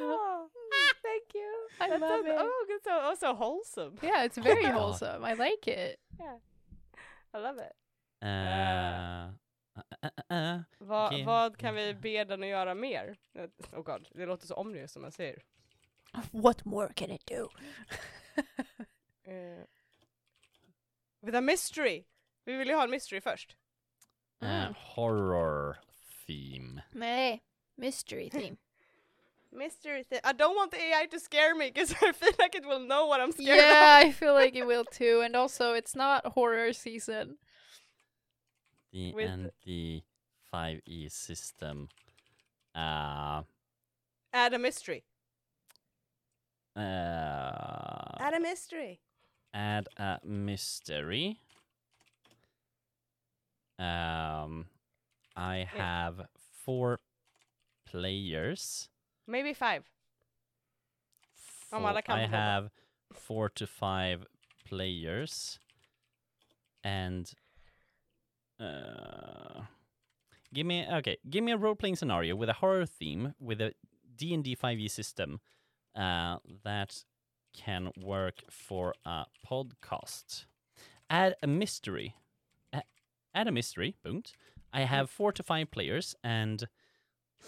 B: oh, thank you.
A: I
B: That
A: love
B: sounds-
A: it.
B: Oh, it's so, oh, so wholesome.
A: Yeah, it's very
D: God.
A: wholesome. I like it.
B: I love it.
D: Uh, uh, uh, uh.
B: Va,
D: Okej.
B: Vad kan vi be den att göra mer? Eh, Oh god, det låter så omnius som man säger.
A: What more can it do?
B: Eh, with a mystery! Vi vill ju ha en mystery först.
A: Mm.
D: Uh, horror theme.
A: Nej, mystery theme.
B: Mystery thing. I don't want the AI to scare me because I feel like it will know what I'm scared
A: yeah, I feel like it will too. And also, it's not horror season.
D: the
B: With-
D: ND 5E E system. Uh,
B: of. Add a mystery.
D: uh,
B: Add a mystery.
D: add a mystery. Um, I have four players.
B: Maybe five.
D: Four,
B: Ja, men alla kan
D: I
B: få hålla.
D: have four to five players, and Uh, give me okay. Give me a role-playing scenario with a horror theme with a D and D five E system uh, that can work for a podcast. Add a mystery. A- Add a mystery. Punkt. I
B: Mm.
D: have four to five players, and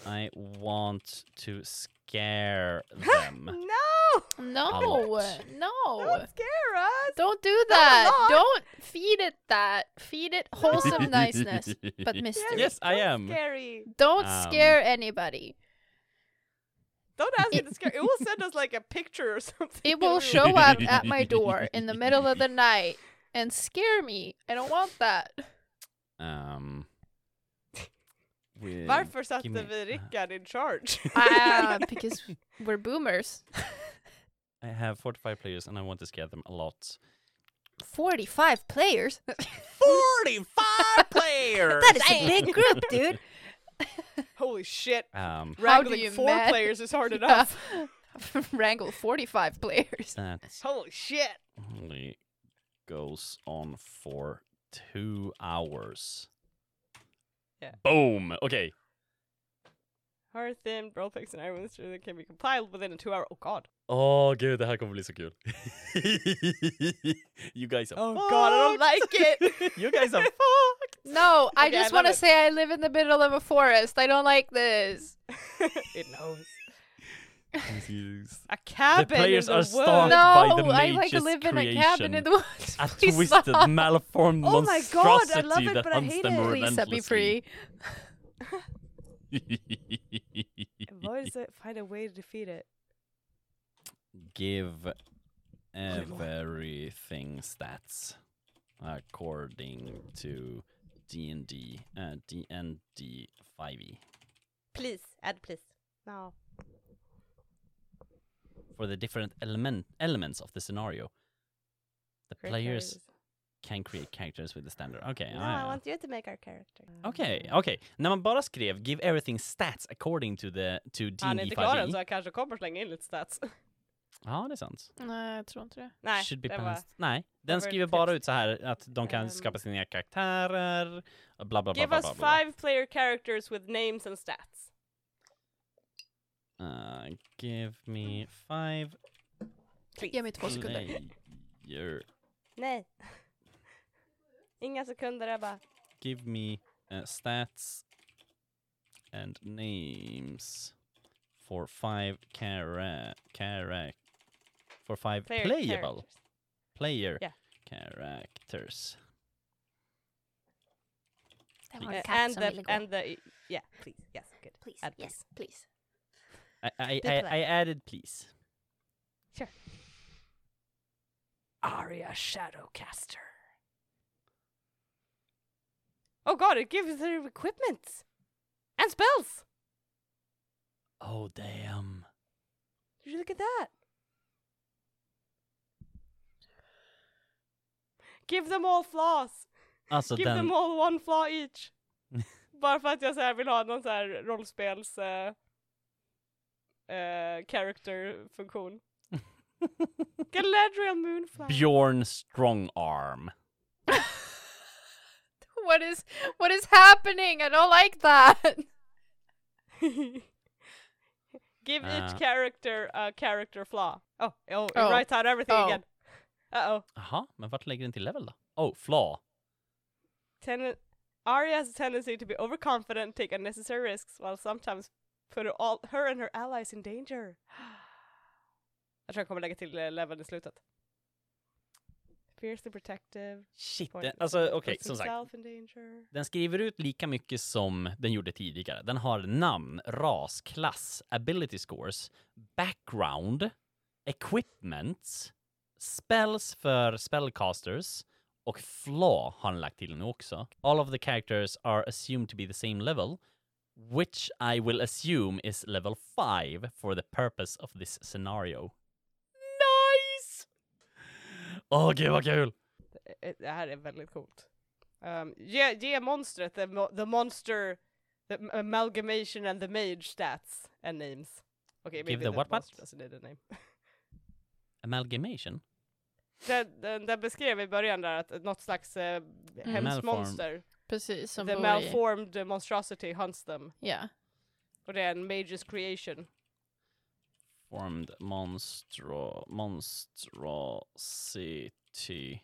D: I want to scare them.
B: No!
A: No!
D: lot.
A: No!
B: Don't scare us!
A: Oh. Don't do that!
B: lot.
A: Don't feed it that! Feed it wholesome niceness, but mystery.
D: Yes, I am.
B: Scary.
A: Don't
D: Um,
A: scare anybody.
B: Don't ask me to scare. It will send us like a picture or something.
A: It will show up at my door in the middle of the night and scare me. I don't want that.
D: Um. with-
B: Varför satte
D: me-
B: vi Rickard in charge? Um,
A: Ah, because we're boomers.
D: I have 45 players and I want to scare them a lot.
A: 45 players?
D: 45 players!
A: That is a big group, dude.
B: Holy shit.
D: Um,
A: How do
B: Wrangling
A: you
B: four
A: man-
B: players is hard
A: Yeah.
B: enough.
A: Wrangle 45 players.
D: that
B: Holy shit.
D: only goes on for two hours.
B: Yeah.
D: Boom! Okay.
B: Har thin roll picks and iron mystery that can be compiled within a two hour. Oh god.
D: Åh gud, det här kommer bli så kul. you guys are
B: Oh god, I don't like it.
D: You guys are
A: No, I
B: Okay, I
A: just
B: love
A: want to
B: it.
A: say I live in the middle of a forest. I don't like this.
B: it knows.
D: confused.
B: A cabin.
D: players
B: in
D: are
B: the woods.
D: By the
A: No, I like
D: mage's
A: live in a cabin
D: creation.
A: in the woods.
D: A
A: Please
D: twisted,
A: stop.
D: malformed
B: Oh my god, I love
D: monstrosity
B: it,
D: that
B: but I
D: hunts
B: hate
D: them
B: it.
A: Please set
D: relentlessly.
A: me free.
B: What is it? Find a way to defeat it.
D: give everything stats according to D&D uh, D&D 5e
B: Please, add please. No.
D: for the different element elements of the scenario. The players can create characters with the standard. Okay. ah, ja.
B: you to make our character.
D: Okej, okej. När man bara skrev “Give everything stats according to the to D&D
B: Han är inte klar än
D: 5e”.
B: så jag kanske kommer slänga in lite stats.
D: Ja, det är sant.
B: Uh,
A: Nej, jag tror inte det.
B: Nej,
D: Should be
B: det var...
D: balanced. Nej, den
B: var
D: skriver
B: ett
D: bara
B: tips.
D: ut så här att de kan
B: Ehm.
D: skapa sina karaktärer, bla bla bla.
B: Give
D: bla,
B: us
D: bla, bla.
B: five player characters with names and stats.
D: Uh, give
B: Mm.
D: me five
A: Ge mig två sekunder.
D: player.
B: Nej. Inga sekunder, jag bara...
D: Give me uh, stats and names for five cara cara for five
B: Player
D: playable
B: characters.
D: player
B: Yeah.
D: characters.
A: Det
D: var
B: Uh, and the, and the... Yeah, please. Yes, good.
A: Please,
B: add yes,
A: please.
D: I I,
B: The
D: I,
B: pla-
D: I added please.
B: Aria Shadowcaster. Oh god, it gives her equipment! And spells!
D: Oh damn.
B: Did you look at that? Give them all flaws!
D: Alltså
B: Give
D: den
B: them all one flaw each! Bara för att jag så här vill ha någon så här rollspels... eh, eh, character-funktion. Galadriel Moonflower.
D: Bjorn Strongarm.
A: What is what is happening? I don't like that.
B: Give
D: Uh,
B: each character a character flaw. Oh, oh,
A: Oh.
B: it writes out everything
A: Oh.
B: again. Uh oh.
D: Jaha, men vart lägger den till level då? Oh, flaw.
B: Ten- Arya has a tendency to be overconfident and take unnecessary risks, while sometimes put her, all- her and her allies in danger. Jag tror jag kommer lägga till eh, leveln i slutet. Fiercely protective.
D: Shit,
B: point-
D: den, alltså okej,
B: puts
D: som sagt.
B: himself in danger.
D: Den skriver ut lika mycket som den gjorde tidigare. Den har namn, ras, klass, ability scores, background, equipment, spells för spellcasters och flaw har den lagt till nu också. All of the characters are assumed to be the same level, which I will assume is level 5 for the purpose of this scenario. Nice! Åh gud vad kul!
B: Eh, Det här är väldigt coolt. Um, ge, ge monstret, the, mo- the monster, the m- amalgamation and the mage stats and names. Okay,
D: Give
B: maybe
D: the what what?
B: monster doesn't need a name.
D: Amalgamation?
B: Den, den, den beskrev i början där att något slags eh, hemskt
D: Malform.
B: monster
A: Precis, som
B: The
A: bor i...
B: malformed monstrosity hunts them.
A: Ja.
B: Och det är en mage's creation.
D: Formed monstro, monstrosity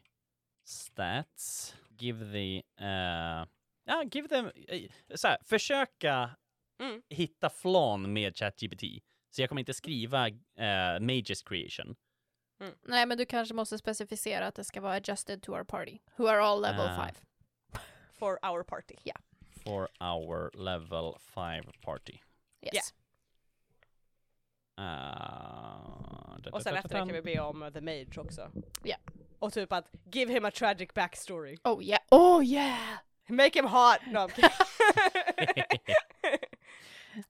D: stats. Give the... eh, ja, give them... eh, så här, försöka
B: Mm.
D: hitta flan med ChatGPT. Så jag kommer inte skriva eh, Mages creation.
A: Nej, men du kanske måste specificera att det ska vara adjusted to our party. Who are all level
D: Ah.
A: 5.
B: For our party.
D: For our level 5 party.
A: Yes.
B: Ja.
D: Ah, da,
B: Och
D: da,
B: sen
D: da,
B: efter det
D: da,
B: kan vi
D: da.
B: be om eh, the mage också.
A: Ja.
B: Och typ att give him a tragic backstory.
A: Oh yeah. Oh yeah!
B: Make him hot! No, I'm kidding.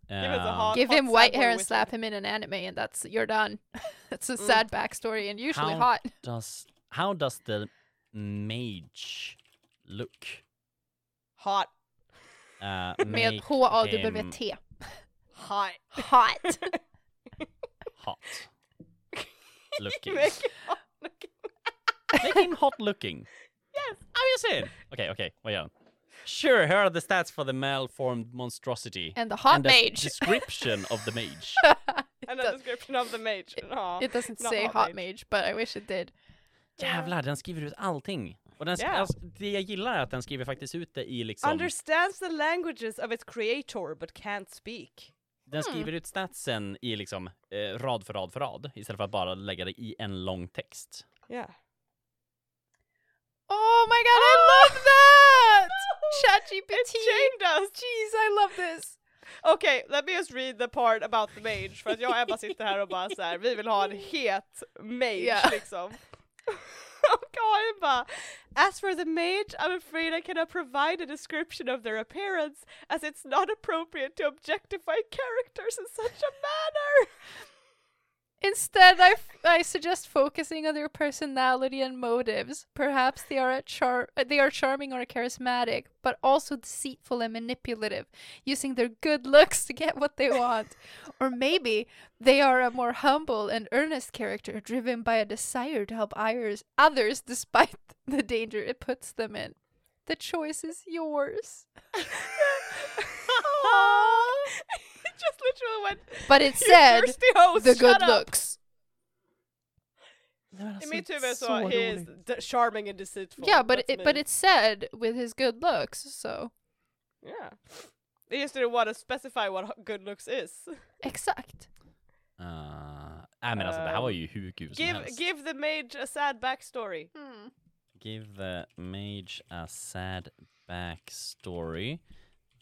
B: Give us a
D: Um,
B: hot-
A: Give him
B: sad
A: white
B: boy
A: hair and
B: wizard.
A: slap him in an anime and that's, you're done. That's a sad backstory and usually
D: How-
A: hot.
D: does how does the mage look?
B: hot.
D: Uh,
A: Med
D: make him
A: H-A-W-T.
B: Hot.
A: Hot!
D: hot looking.
B: Make him hot.
D: make him hot looking. Yes, I'm just saying. Okay, okay, vad gör han? Sure, here are the stats for the malformed monstrosity
A: And the hot
D: and the
A: mage.
D: description of the mage.
B: And a description of the mage. Ja.
A: It doesn't
B: Not
A: say
B: hot
A: hot,
B: mage.
A: mage, but I wish it did.
D: Jävlar, den skriver ut allting. Och den sk-
B: Ja.
D: alltså, det jag gillar är att den skriver faktiskt ut det i liksom...
B: Understands the languages of its creator but can't speak.
D: Den
A: hmm.
D: skriver ut statsen i liksom eh, rad för rad för rad istället för att bara lägga det i en lång text.
B: Yeah.
A: Oh my god, I love that!
B: It
A: ChatGPT!
B: shamed us!
A: Jeez, I love this!
B: Okej, let me just read the part about the mage, för att jag och Ebba sitter här och bara så här, vi vill ha en het mage
A: Yeah.
B: liksom. och Karin bara, as for the mage I'm afraid I cannot provide a description of their appearance as it's not appropriate to objectify characters in such a manner.
A: Instead, I, f- I suggest focusing on their personality and motives. Perhaps they are a char- uh, they are charming or charismatic, but also deceitful and manipulative, using their good looks to get what they want. or maybe they are a more humble and earnest character, driven by a desire to help others, others despite the danger it puts them in. The choice is yours.
B: It just literally went,
A: But it
B: "You
A: said
B: thirsty host,
A: the good
B: Oh, shut up."
A: looks.
B: I mitt huvud så, he is d- charming and deceitful.
A: Yeah, but
B: That's
A: it, but
B: me.
A: it said with his good looks, so.
B: Yeah. They just didn't want to specify what h- good looks is.
A: Exakt.
D: Uh, nej men alltså det
A: Um,
D: här var ju hur kul som
B: Give
D: helst.
B: give the mage a sad backstory.
A: Hmm.
D: Give the mage a sad backstory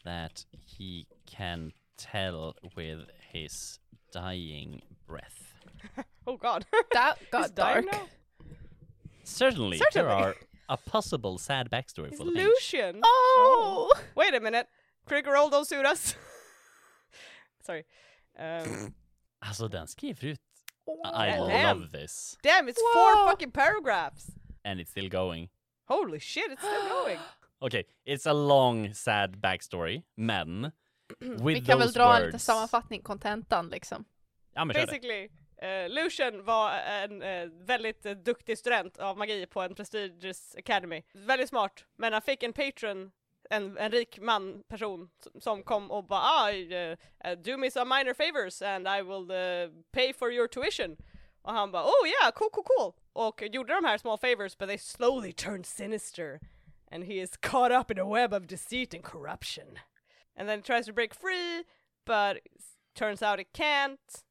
D: that he can tell with his dying breath.
B: Oh god.
A: That got
B: He's
A: dark.
B: dying now?
D: Certainly,
B: Certainly.
D: there are a possible sad backstory
B: He's
D: for the mage.
B: Lucian.
A: Oh!
B: Wait a minute. Critical roll, don't suit us. Sorry. Um,
D: Alltså den skriver ut... I
B: Damn.
D: love this.
B: damn, it's
A: Whoa.
B: four fucking paragraphs.
D: And it's still going.
B: Holy shit, it's still going.
D: Okay, it's a long sad backstory, men with
A: Vi kan väl
D: those
A: dra en liten
D: words-
A: sammanfattning, kontentan liksom.
D: Ja, men kör det.
B: Basically, eh, Lucian var en eh, väldigt eh, duktig student av magi på en prestigious academy. Väldigt smart, men han fick en patron, en, en rik man, person, som- som kom och bara ah, eh, eh, do me some minor favors and I will eh, pay for your tuition. Och han bara oh yeah, cool cool cool! Och gjorde de här small favors but they slowly turned sinister. And he is caught up in a web of deceit and corruption. And then tries to break free, but s- turns out it can't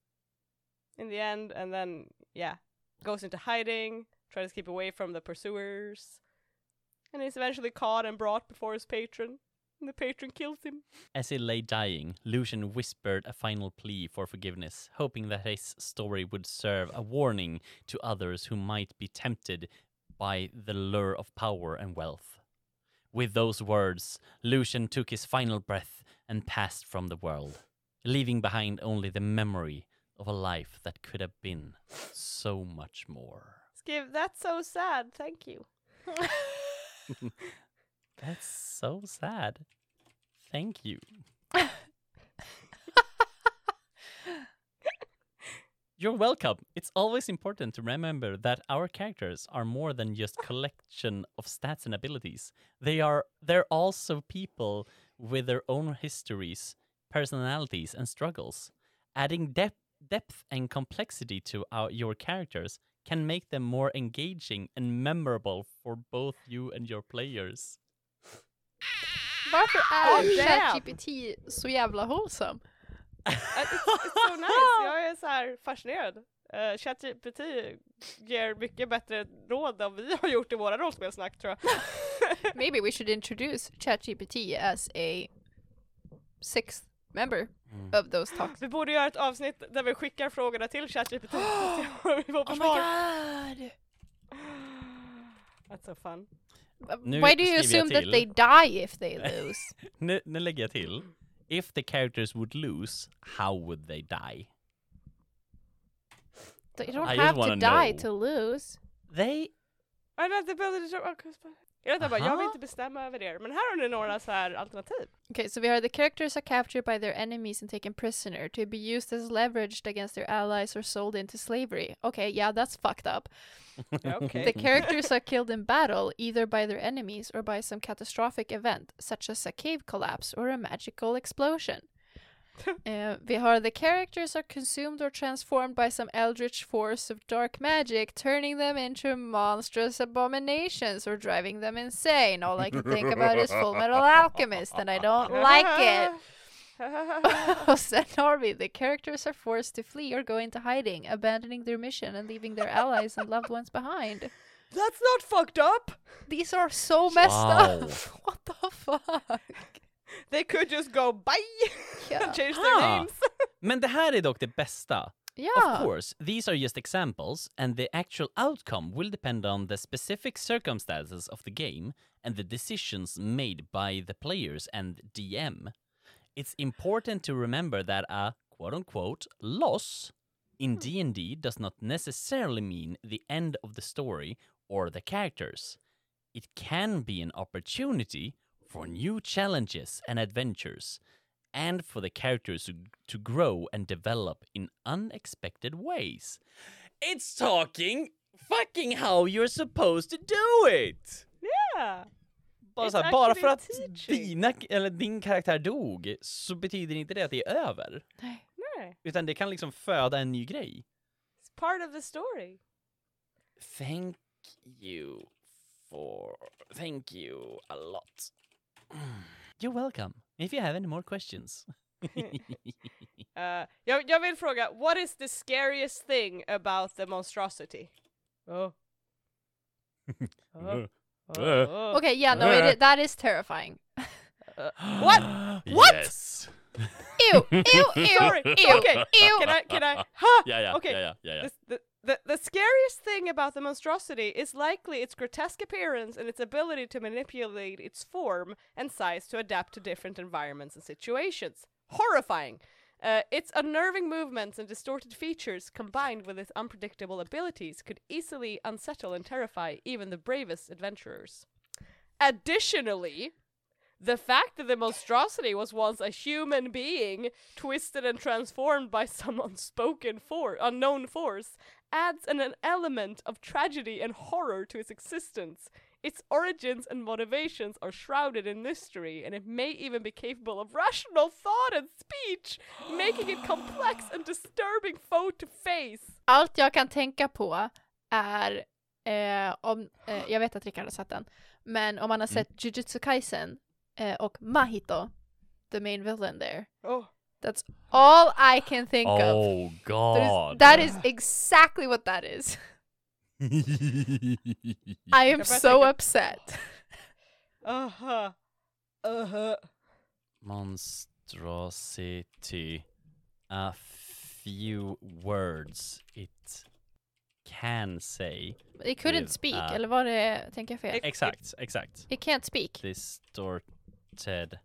B: in the end, and then yeah, goes into hiding, tries to keep away from the pursuers, and is eventually caught and brought before his patron. And the patron kills him.
D: As he lay dying, Lucian whispered a final plea for forgiveness, hoping that his story would serve a warning to others who might be tempted by the lure of power and wealth. With those words, Lucian took his final breath and passed from the world, leaving behind only the memory of a life that could have been so much more.
B: Skiv, that's so sad. Thank you.
D: That's so sad. Thank you. You're welcome. It's always important to remember that our characters are more than just collection of stats and abilities. They are they're also people with their own histories, personalities and struggles. Adding depth depth and complexity to our, your characters can make them more engaging and memorable for both you and your players.
A: Varför är
B: Oh, damn.
A: ChatGPT så jävla wholesome?
B: Uh, It's, it's so nice, jag är så här fascinerad. Uh, ChatGPT ger mycket bättre råd än vi har gjort i våra rollspelsnack tror jag.
A: Maybe we should introduce ChatGPT as a sixth member
D: Mm.
A: of those talks.
B: Vi borde göra ett avsnitt där vi skickar frågorna till ChatGPT och ser om vi får försvar.
A: god!
B: That's so fun.
D: Nu
A: Why do you
D: skriver jag
A: assume that
D: till.
A: they die if they lose?
D: Nu, nu lägger jag till. If the characters would lose, how would they die?
A: They don't
D: I just
A: have to
D: wanna
A: die
D: know.
A: to lose.
D: They...
B: I meant the ability to... Jag, vet inte, bara, jag vill
D: Aha.
B: inte bestämma över er, men här har ni några så här alternativ.
A: Okay, so we are the characters are captured by their enemies and taken prisoner to be used as leveraged against their allies or sold into slavery. Okay, yeah, that's fucked up.
B: Ja, okej.
A: The characters are killed in battle either by their enemies or by some catastrophic event, such as a cave collapse or a magical explosion. uh, we are the characters are consumed or transformed by some eldritch force of dark magic, turning them into monstrous abominations or driving them insane. All I can think about is Full Metal Alchemist, and I don't like it. Och sen har vi the characters are forced to flee or go into hiding, abandoning their mission and leaving their allies and loved ones behind.
B: That's not fucked up!
A: These are so messed
D: Wow.
A: up. What the fuck?
B: They could just go bye!
A: Yeah.
B: and change their
D: Ah.
B: names!
D: Men det här är dock det bästa. Of
A: Yeah.
D: course, these are just examples and the actual outcome will depend on the specific circumstances of the game and the decisions made by the players and DM. It's important to remember that a quote unquote loss in D&D does not necessarily mean the end of the story or the characters. It can be an opportunity for new challenges and adventures, and for the characters to, to grow and develop in unexpected ways. It's talking fucking how you're supposed to do it!
B: Yeah.
D: Bara,
B: It's
D: så här, bara för
B: actually
D: att
B: teaching.
D: dina, eller din karaktär dog så betyder inte det att det är över.
A: Nej.
B: Nej.
D: Utan det kan liksom föda en ny grej.
B: It's part of the story.
D: Thank you for... Thank you a lot. You're welcome. If you have any more questions.
B: Eh, jag, jag vill fråga, what is the scariest thing about the monstrosity? Oh. Oh. Oh. Oh.
A: Okay, yeah, no, it, i- that is terrifying.
B: What? What?
C: Yes.
A: Ew, ew, ew,
B: Sorry.
A: ew,
B: Okay.
A: ew.
B: Can I? Can I? Ha!
C: Yeah, yeah,
B: okay.
C: yeah, yeah, yeah, yeah.
B: The, the, the, the scariest thing about the monstrosity is likely its grotesque appearance and its ability to manipulate its form and size to adapt to different environments and situations. Horrifying. Uh, its unnerving movements and distorted features, combined with its unpredictable abilities, could easily unsettle and terrify even the bravest adventurers. Additionally, the fact that the monstrosity was once a human being, twisted and transformed by some unspoken for unknown force, adds an, an element of tragedy and horror to its existence. Its origins and motivations are shrouded in mystery, and it may even be capable of rational thought and speech, making it complex and disturbing foe to face.
A: Allt jag kan tänka på är eh, om, eh, jag vet att Rickard har sett den, men om man har sett Jujutsu Kaisen eh, och Mahito, the main villain there.
B: Oh.
A: That's all I can think of. That
C: Oh
A: is-
C: god.
A: that is exactly what that is. I am
B: Jag börjar
A: so
B: tänka-
A: upset.
B: Uh-huh. Uh-huh.
D: monstrosity a few words it can say.
A: They couldn't
D: Liv
A: speak,
D: är-
A: eller var det, tänker jag fel?
D: Exakt, exakt.
A: He can't speak.
D: Distorted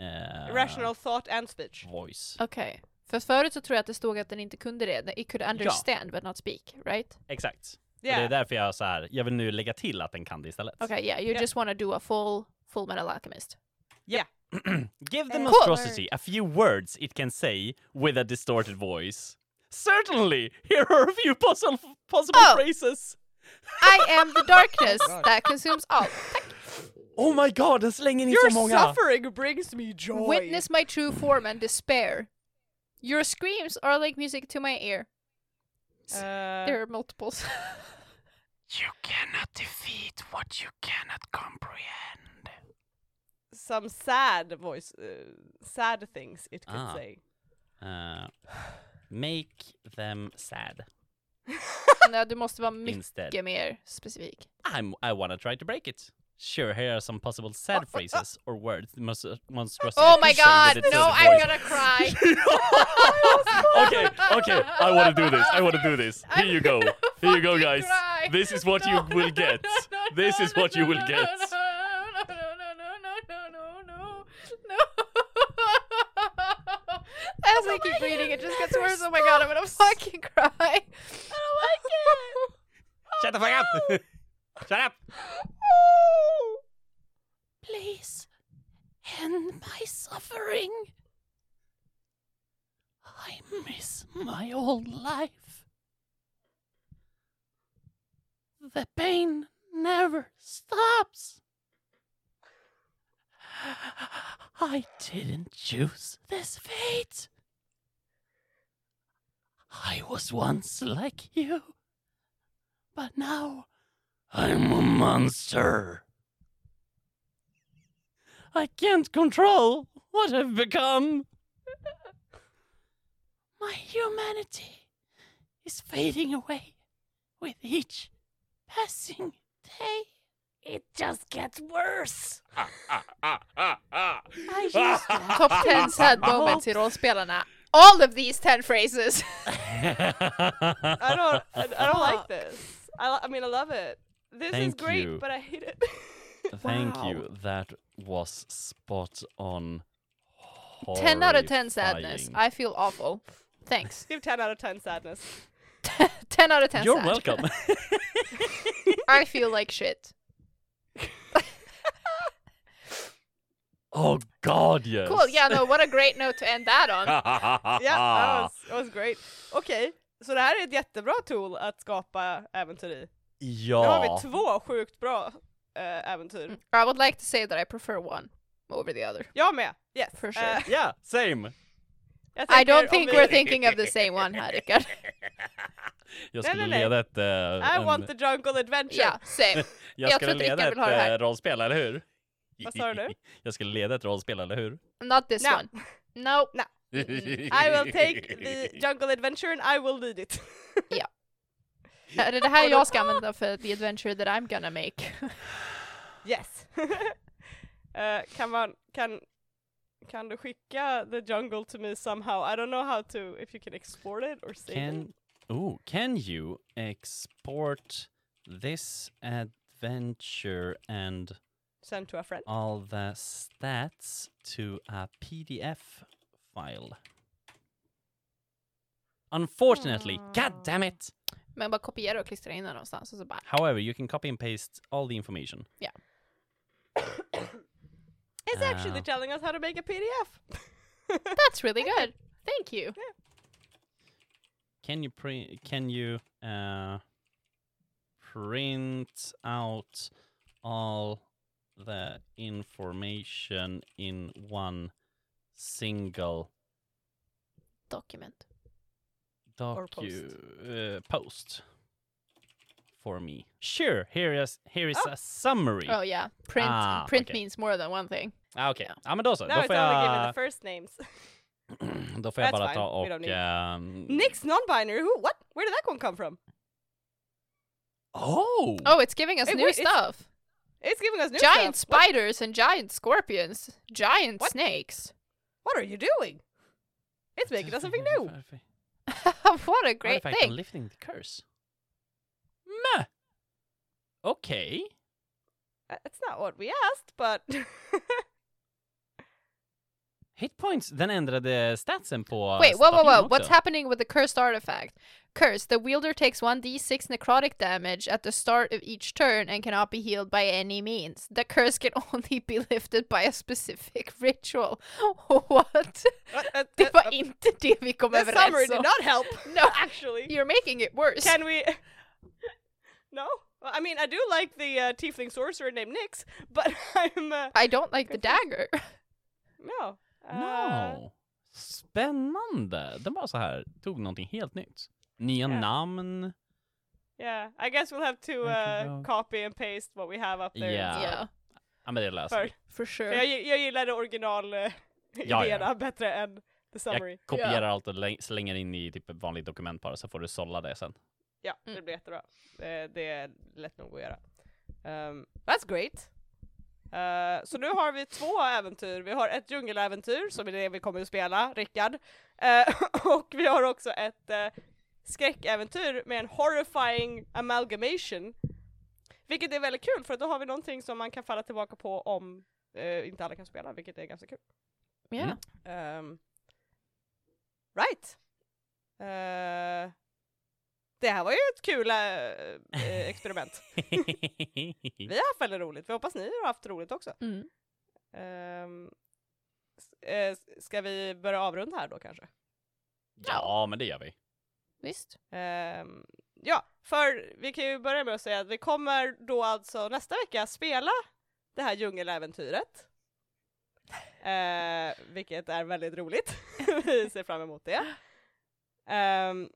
D: eh,
B: Rational thought and
D: Uh,
B: speech.
D: voice.
A: Okej. För förut så tror jag att det stod att den inte kunde det. that It could understand but not speak, right?
D: Exakt. Och
B: Yeah.
D: Det är därför jag så här, jag vill nu lägga till att den kan det istället.
A: Okej, yeah, you
B: Ja.
A: just wanna do a full, full metal alchemist.
D: Give the
A: Cool.
D: monstrosity a few words it can say with a distorted voice. Certainly! Here are a few possible, possible
C: Oh.
D: phrases.
C: I am the darkness that consumes all.
D: Oh my god, den slänger in
B: Your
D: så många!
B: suffering brings me joy.
C: Witness my true form and despair. Your screams are like music to my ear.
B: Eh,
C: There are multiples.
D: You cannot defeat what you cannot comprehend.
B: some sad voice, eh, sad things it could
D: Ah.
B: say.
D: Uh, make them sad
C: Nej, du måste vara mycket
D: instead.
C: mer specifik.
D: I'm, I wanna try to break it. Sure, here are some possible sad phrases or words. Must, must
C: Oh my god, no, I'm gonna cry.
F: okay, okay. I want to do this. I want to do this. Here you go. Here you go,
C: fucking
F: guys.
C: cry.
F: This is what you will get. This is what you will get.
C: As I keep reading, it just gets worse. Oh my god, I'm gonna fucking cry. I don't like it.
D: Shut the fuck up! Shut up!
E: Please end my suffering. I miss my old life. The pain never stops. I didn't choose this fate. I was once like you, but now I'm a monster. I can't control what I've become. My humanity is fading away with each passing day. It just gets worse.
D: Ah,
E: I used to have
C: Top 10 sad moments i rollspelarna. All of these 10 phrases.
B: I don't, I, I don't like this. I, lo- I mean, I love it. This is
D: Thank
B: great,
D: you.
B: but I hate it.
D: Thank you. That was spot on.
C: 10 out of 10 sadness.
D: Horrifying.
C: I feel awful. Thanks.
B: Give 10 out of 10 sadness.
C: 10 out of 10
D: You're
C: sad.
D: welcome.
C: I feel like shit.
D: oh god, yes.
C: Cool, yeah, no, what a great note to end that on.
B: Ja, that was, that was great. Okej, så det här är ett jättebra tool att skapa äventyr i. Nu har
D: Ja.
B: vi två sjukt bra eh, äventyr.
C: I would like to say that I prefer one over the other.
B: Jag med! Yes!
C: For sure.
B: Eh,
D: Yeah, same.
B: jag
C: I
B: tänker
C: don't
B: om
C: think
B: vi-
C: we're thinking of the same one här, Rickard.
D: Jag
B: Nej,
D: skulle
B: nej, nej.
D: leda ett... eh,
B: I
D: en-
B: want the jungle adventure!
C: Ja, same.
D: jag
C: jag
D: skulle
C: tror att Rickard
D: leda
C: vill ha det
D: ett
C: här.
D: eh, rollspel, eller hur?
B: Vad sa du?
D: Jag skulle leda ett rollspel, eller hur?
C: Not this
B: No.
C: one. No.
B: Mm. I will take the jungle adventure and I will lead it.
C: Är det det här jag ska använda för the adventure that I'm gonna make?
B: yes! Eh, kan man, kan, kan du skicka the jungle to me somehow? I don't know how to, if you can export it or save it.
D: Can oh, can you export this adventure and
B: Send to a friend.
D: all the stats to a PDF file? Unfortunately,
B: Hmm.
D: god damn it.
C: Men bara kopiera och klistra in den någonstans och så bara...
D: However, you can copy and paste all the information.
B: It's actually
D: Ah.
B: telling us how to make a PDF!
C: That's really good. Thank you.
D: Can you print? Can you uh, print out all the information in one single
C: Document.
D: docu
B: post.
D: Uh, post for me? Sure. Here is here is a summary.
C: Oh yeah. Print
D: Ah,
C: print
D: okej.
C: means more than one thing.
D: Ah, Okej, ja men då så.
B: Now
D: Då
B: it's
D: får
B: only given
D: jag,
B: the first names.
D: då får jag
B: That's
D: bara
B: fine.
D: ta
B: We don't
D: och... ehm,
B: Nick's non-binary. Who? What? Where did that one come from?
D: oh!
C: Oh, it's giving us
B: Hey,
C: new
B: wait, it's
C: stuff.
B: It's giving us new
C: Giant
B: stuff. What-
C: spiders and giant scorpions. Giant
B: What?
C: snakes.
B: What, are you doing? It's making us something new.
D: What if I-
C: what a
D: Great
C: great
D: Artifact thing.
C: thing.
D: lifting the curse. Meh. Okay.
B: Uh, It's not what we asked, but
D: Hitpoints, den ändrade statsen på
A: Wait, whoa, whoa,
D: statyn
A: whoa.
D: också.
A: What's happening with the cursed artifact? Curse. The wielder takes 1d6 necrotic damage at the start of each turn and cannot be healed by any means. The curse can only be lifted by a specific ritual. What?
B: Uh, uh,
A: Det var
B: uh,
A: inte det vi kom
B: This summary
A: överens
B: did
A: om.
B: not help,
A: No,
B: actually.
A: you're making it worse.
B: Can we? No, Well, I mean I do like the uh, tiefling sorcerer named Nix, but I'm uh,
A: I don't like the dagger.
B: no. Uh,
D: No. Spännande. Den bara så här tog någonting helt nytt. Nya
B: Ja.
D: namn.
B: Yeah, I guess we'll have to
D: Thank you,
B: uh,
D: Doc.
B: copy and paste what we have up there.
D: Yeah.
C: Ah,
A: Yeah,
D: Ja men det läser
B: För,
D: vi.
A: for sure.
B: för jag, gi- jag gillade original uh,
D: ja.
B: idéerna bättre än the summary.
D: Jag kopierar allt och läng- slänger in i typ ett vanligt dokument bara så får du sålla det sen.
B: Ja,
A: Mm.
B: det blir jättebra. Det, det är lätt nog att göra. Ehm, that's great. Eh, så nu har vi två äventyr. Vi har ett djungeläventyr som är det vi kommer att spela, Rickard. Eh, och vi har också ett eh, skräckäventyr med en horrifying amalgamation. Vilket är väldigt kul för att då har vi någonting som man kan falla tillbaka på om eh, inte alla kan spela, vilket är ganska kul.
A: yeah.
D: Mm.
B: Ehm, right. Eh, det här var ju ett kul eh, eh, experiment. Vi har haft väldigt roligt, vi hoppas ni har haft roligt också.
A: Mm.
B: Ehm, s- eh, s- ska vi börja avrunda här då kanske?
D: ja men det gör vi.
A: Visst.
B: Ehm, ja, för vi kan ju börja med att säga att vi kommer då alltså nästa vecka spela det här djungeläventyret. Eh, vilket är väldigt roligt. vi ser fram emot det. Ehm,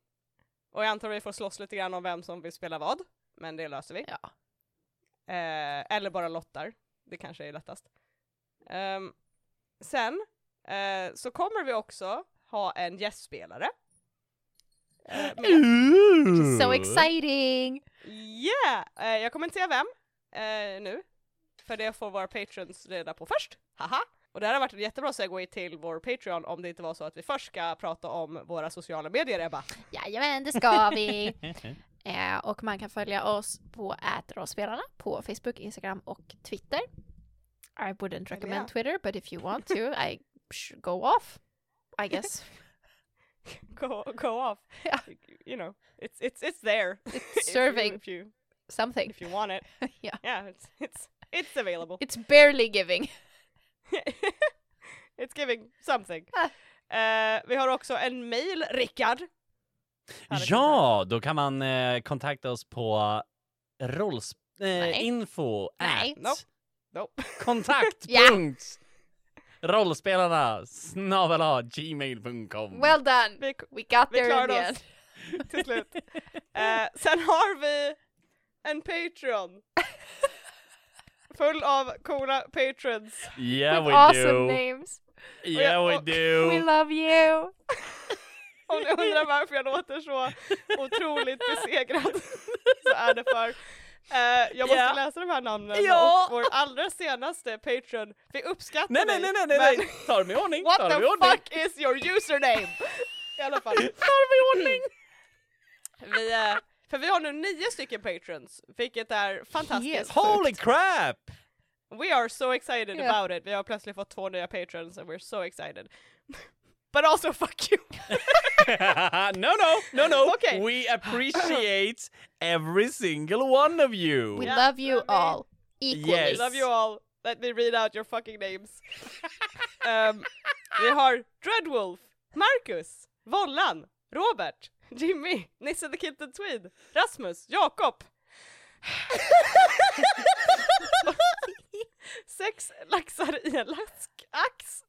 B: och jag antar att vi får slåss lite grann om vem som vill spela vad, men det löser vi.
A: Ja.
B: Eh, eller bara lottar, det kanske är lättast. Ehm, sen eh, så kommer vi också ha en gästspelare. Eh, med-
A: She's so exciting!
B: Yeah! Eh, jag kommer inte säga vem eh, nu, för det får våra patrons reda på först. Haha! Och det här har varit en jättebra segway till vår Patreon om det inte var så att vi först ska prata om våra sociala medier, Ebba.
A: Jajamän, det ska vi! Eh, och man kan följa oss på ätrollspelarna på Facebook, Instagram och Twitter. I wouldn't recommend
B: ja.
A: Twitter, but if you want to, I sh- go off. I guess.
B: Go, go off!
A: Ja.
B: You know, it's, it's, it's there. If you-
A: Serving
B: if you,
A: something.
B: if you want it.
A: Yeah.
B: Yeah, it's, it's, it's available.
A: It's barely giving.
B: it's giving something.
A: Ah.
B: Eh, vi har också en mail, Rickard.
D: Ja, då kan man eh, kontakta oss på rolls...
A: Nej.
D: Eh, info
A: Nej.
D: at
B: Nope. Nope.
D: kontakt
A: Ja.
D: punkt rollspelarna snabel gmail.com
A: Well done!
B: Vi,
A: We got
B: Vi
A: there in
B: klarade
A: the
B: oss.
A: end.
B: till slut. Eh, sen har vi en Patreon. Full av coola patrons.
D: Yeah
A: With
D: we do.
A: awesome names.
D: Yeah we
B: Och-
A: We
D: do.
A: love you!
B: Om ni undrar varför jag låter så otroligt besegrad så är det för eh, jag måste
D: Ja.
B: läsa de här namnen
D: Ja.
B: och vår allra senaste Patreon, vi uppskattar
D: Nej nej
B: dig,
D: nej nej nej,
B: men
D: nej. Ta dem i ordning.
B: what
D: Ta dem i
B: the
D: ordning.
B: fuck is your username? I alla fall.
D: Ta dem i ordning.
B: Vi, eh, för vi har nu nio stycken patrons, vilket är fantastiskt.
A: Helt
D: Holy crap!
B: We are so excited
A: Yeah.
B: about it. Vi har plötsligt fått två nya patrons and we're so excited. But also fuck you!
D: no no no no.
B: Okay.
D: We appreciate every single one of you.
A: We
B: Yeah,
A: love you
B: love you.
A: all. Equally.
B: I
D: Yes.
B: love you all. Let me read out your fucking names. um, vi har Dreadwolf, Marcus, Vollan, Robert, Jimmy, Nisse the Kitten Tweed, Rasmus, Jakob. Sex laxar i en laskax.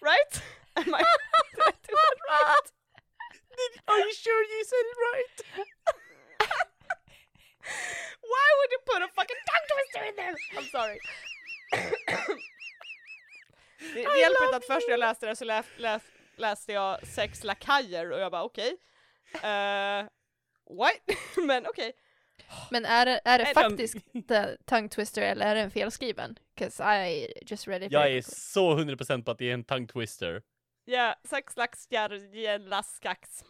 B: Right? Am I, did I do that right?
D: Are you sure you said it right?
B: Why would you put a fucking tongue twister in there? I'm sorry. det det hjälper inte att först när jag läste det så lä- läs, läste jag sex lakajer och jag bara okej. Eh, what? Men okej.
A: Men är det, är det
B: Nej, de-
A: faktiskt the tongue twister eller är den felskriven? 'Cause I just read it.
D: Jag
A: very
D: är så 100% på att det är en tongue twister.
B: Ja, sex laxar i en laskax.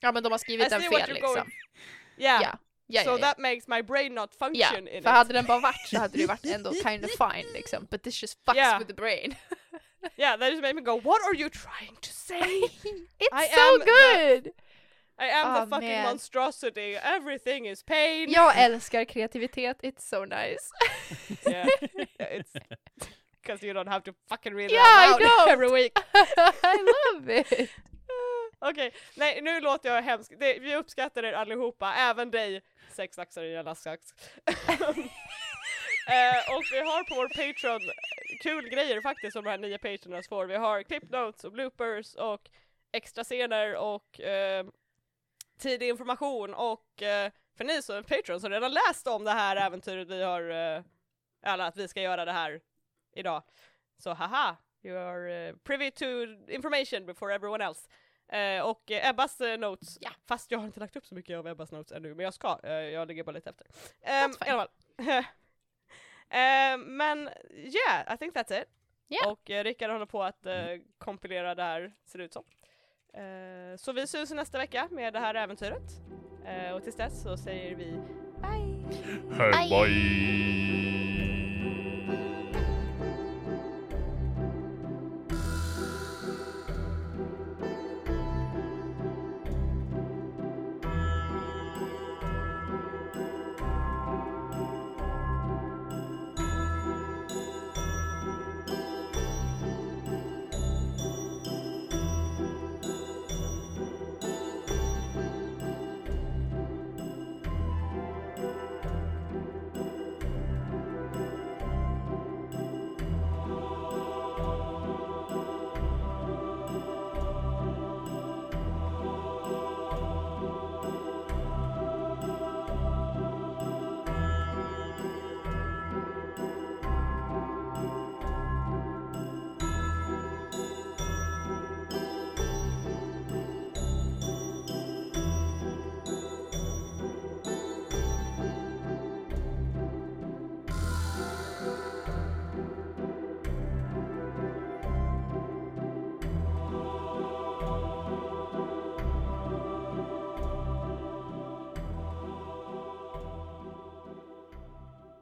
A: Ja men de har skrivit
B: I
A: den
B: see what
A: fel
B: you're going-
A: liksom.
B: Yeah.
A: Ja, ja,
B: so
A: ja, ja.
B: that makes my brain not
A: ja.
B: function in
A: För
B: it.
A: hade den bara varit så hade det ju varit ändå kind of fine liksom. But this just fucks
B: Ja.
A: with the brain.
B: yeah, that just made me go, what are you trying to say?
A: It's
B: I am
A: so
B: the-
A: good!
B: I am
A: Ah,
B: the fucking
A: man.
B: monstrosity, everything is pain.
A: Jag älskar kreativitet, it's so nice.
B: yeah. It's because you don't have to fucking read
A: Yeah, I
B: it out loud
A: don't.
B: every week.
A: I love it!
B: Okej, nej nu låter jag hemsk. Det, vi uppskattar er allihopa, även dig. Sex laxar i en laxax. eh, och vi har på vår Patreon kul grejer faktiskt som de här nya patronerna får. Vi har clip notes och bloopers och extra scener och eh, tidig information och eh, för ni som är Patreon som redan läst om det här äventyret vi har, eh, eller att vi ska göra det här idag. Så haha, you are eh, privy to information before everyone else. Eh, och eh, Ebbas eh, notes, ja. fast jag har inte lagt upp så mycket av Ebbas notes ännu, men jag ska, eh, jag ligger bara lite efter. Ehm,
A: That's fine.
B: I alla fall. Ehm, men yeah, I think that's it.
A: Yeah.
B: Och eh, Rickard håller på att eh, kompilera det här, ser det ut som. Eh, så vi syns nästa vecka med det här äventyret. Eh, och tills dess så säger vi
E: Bye.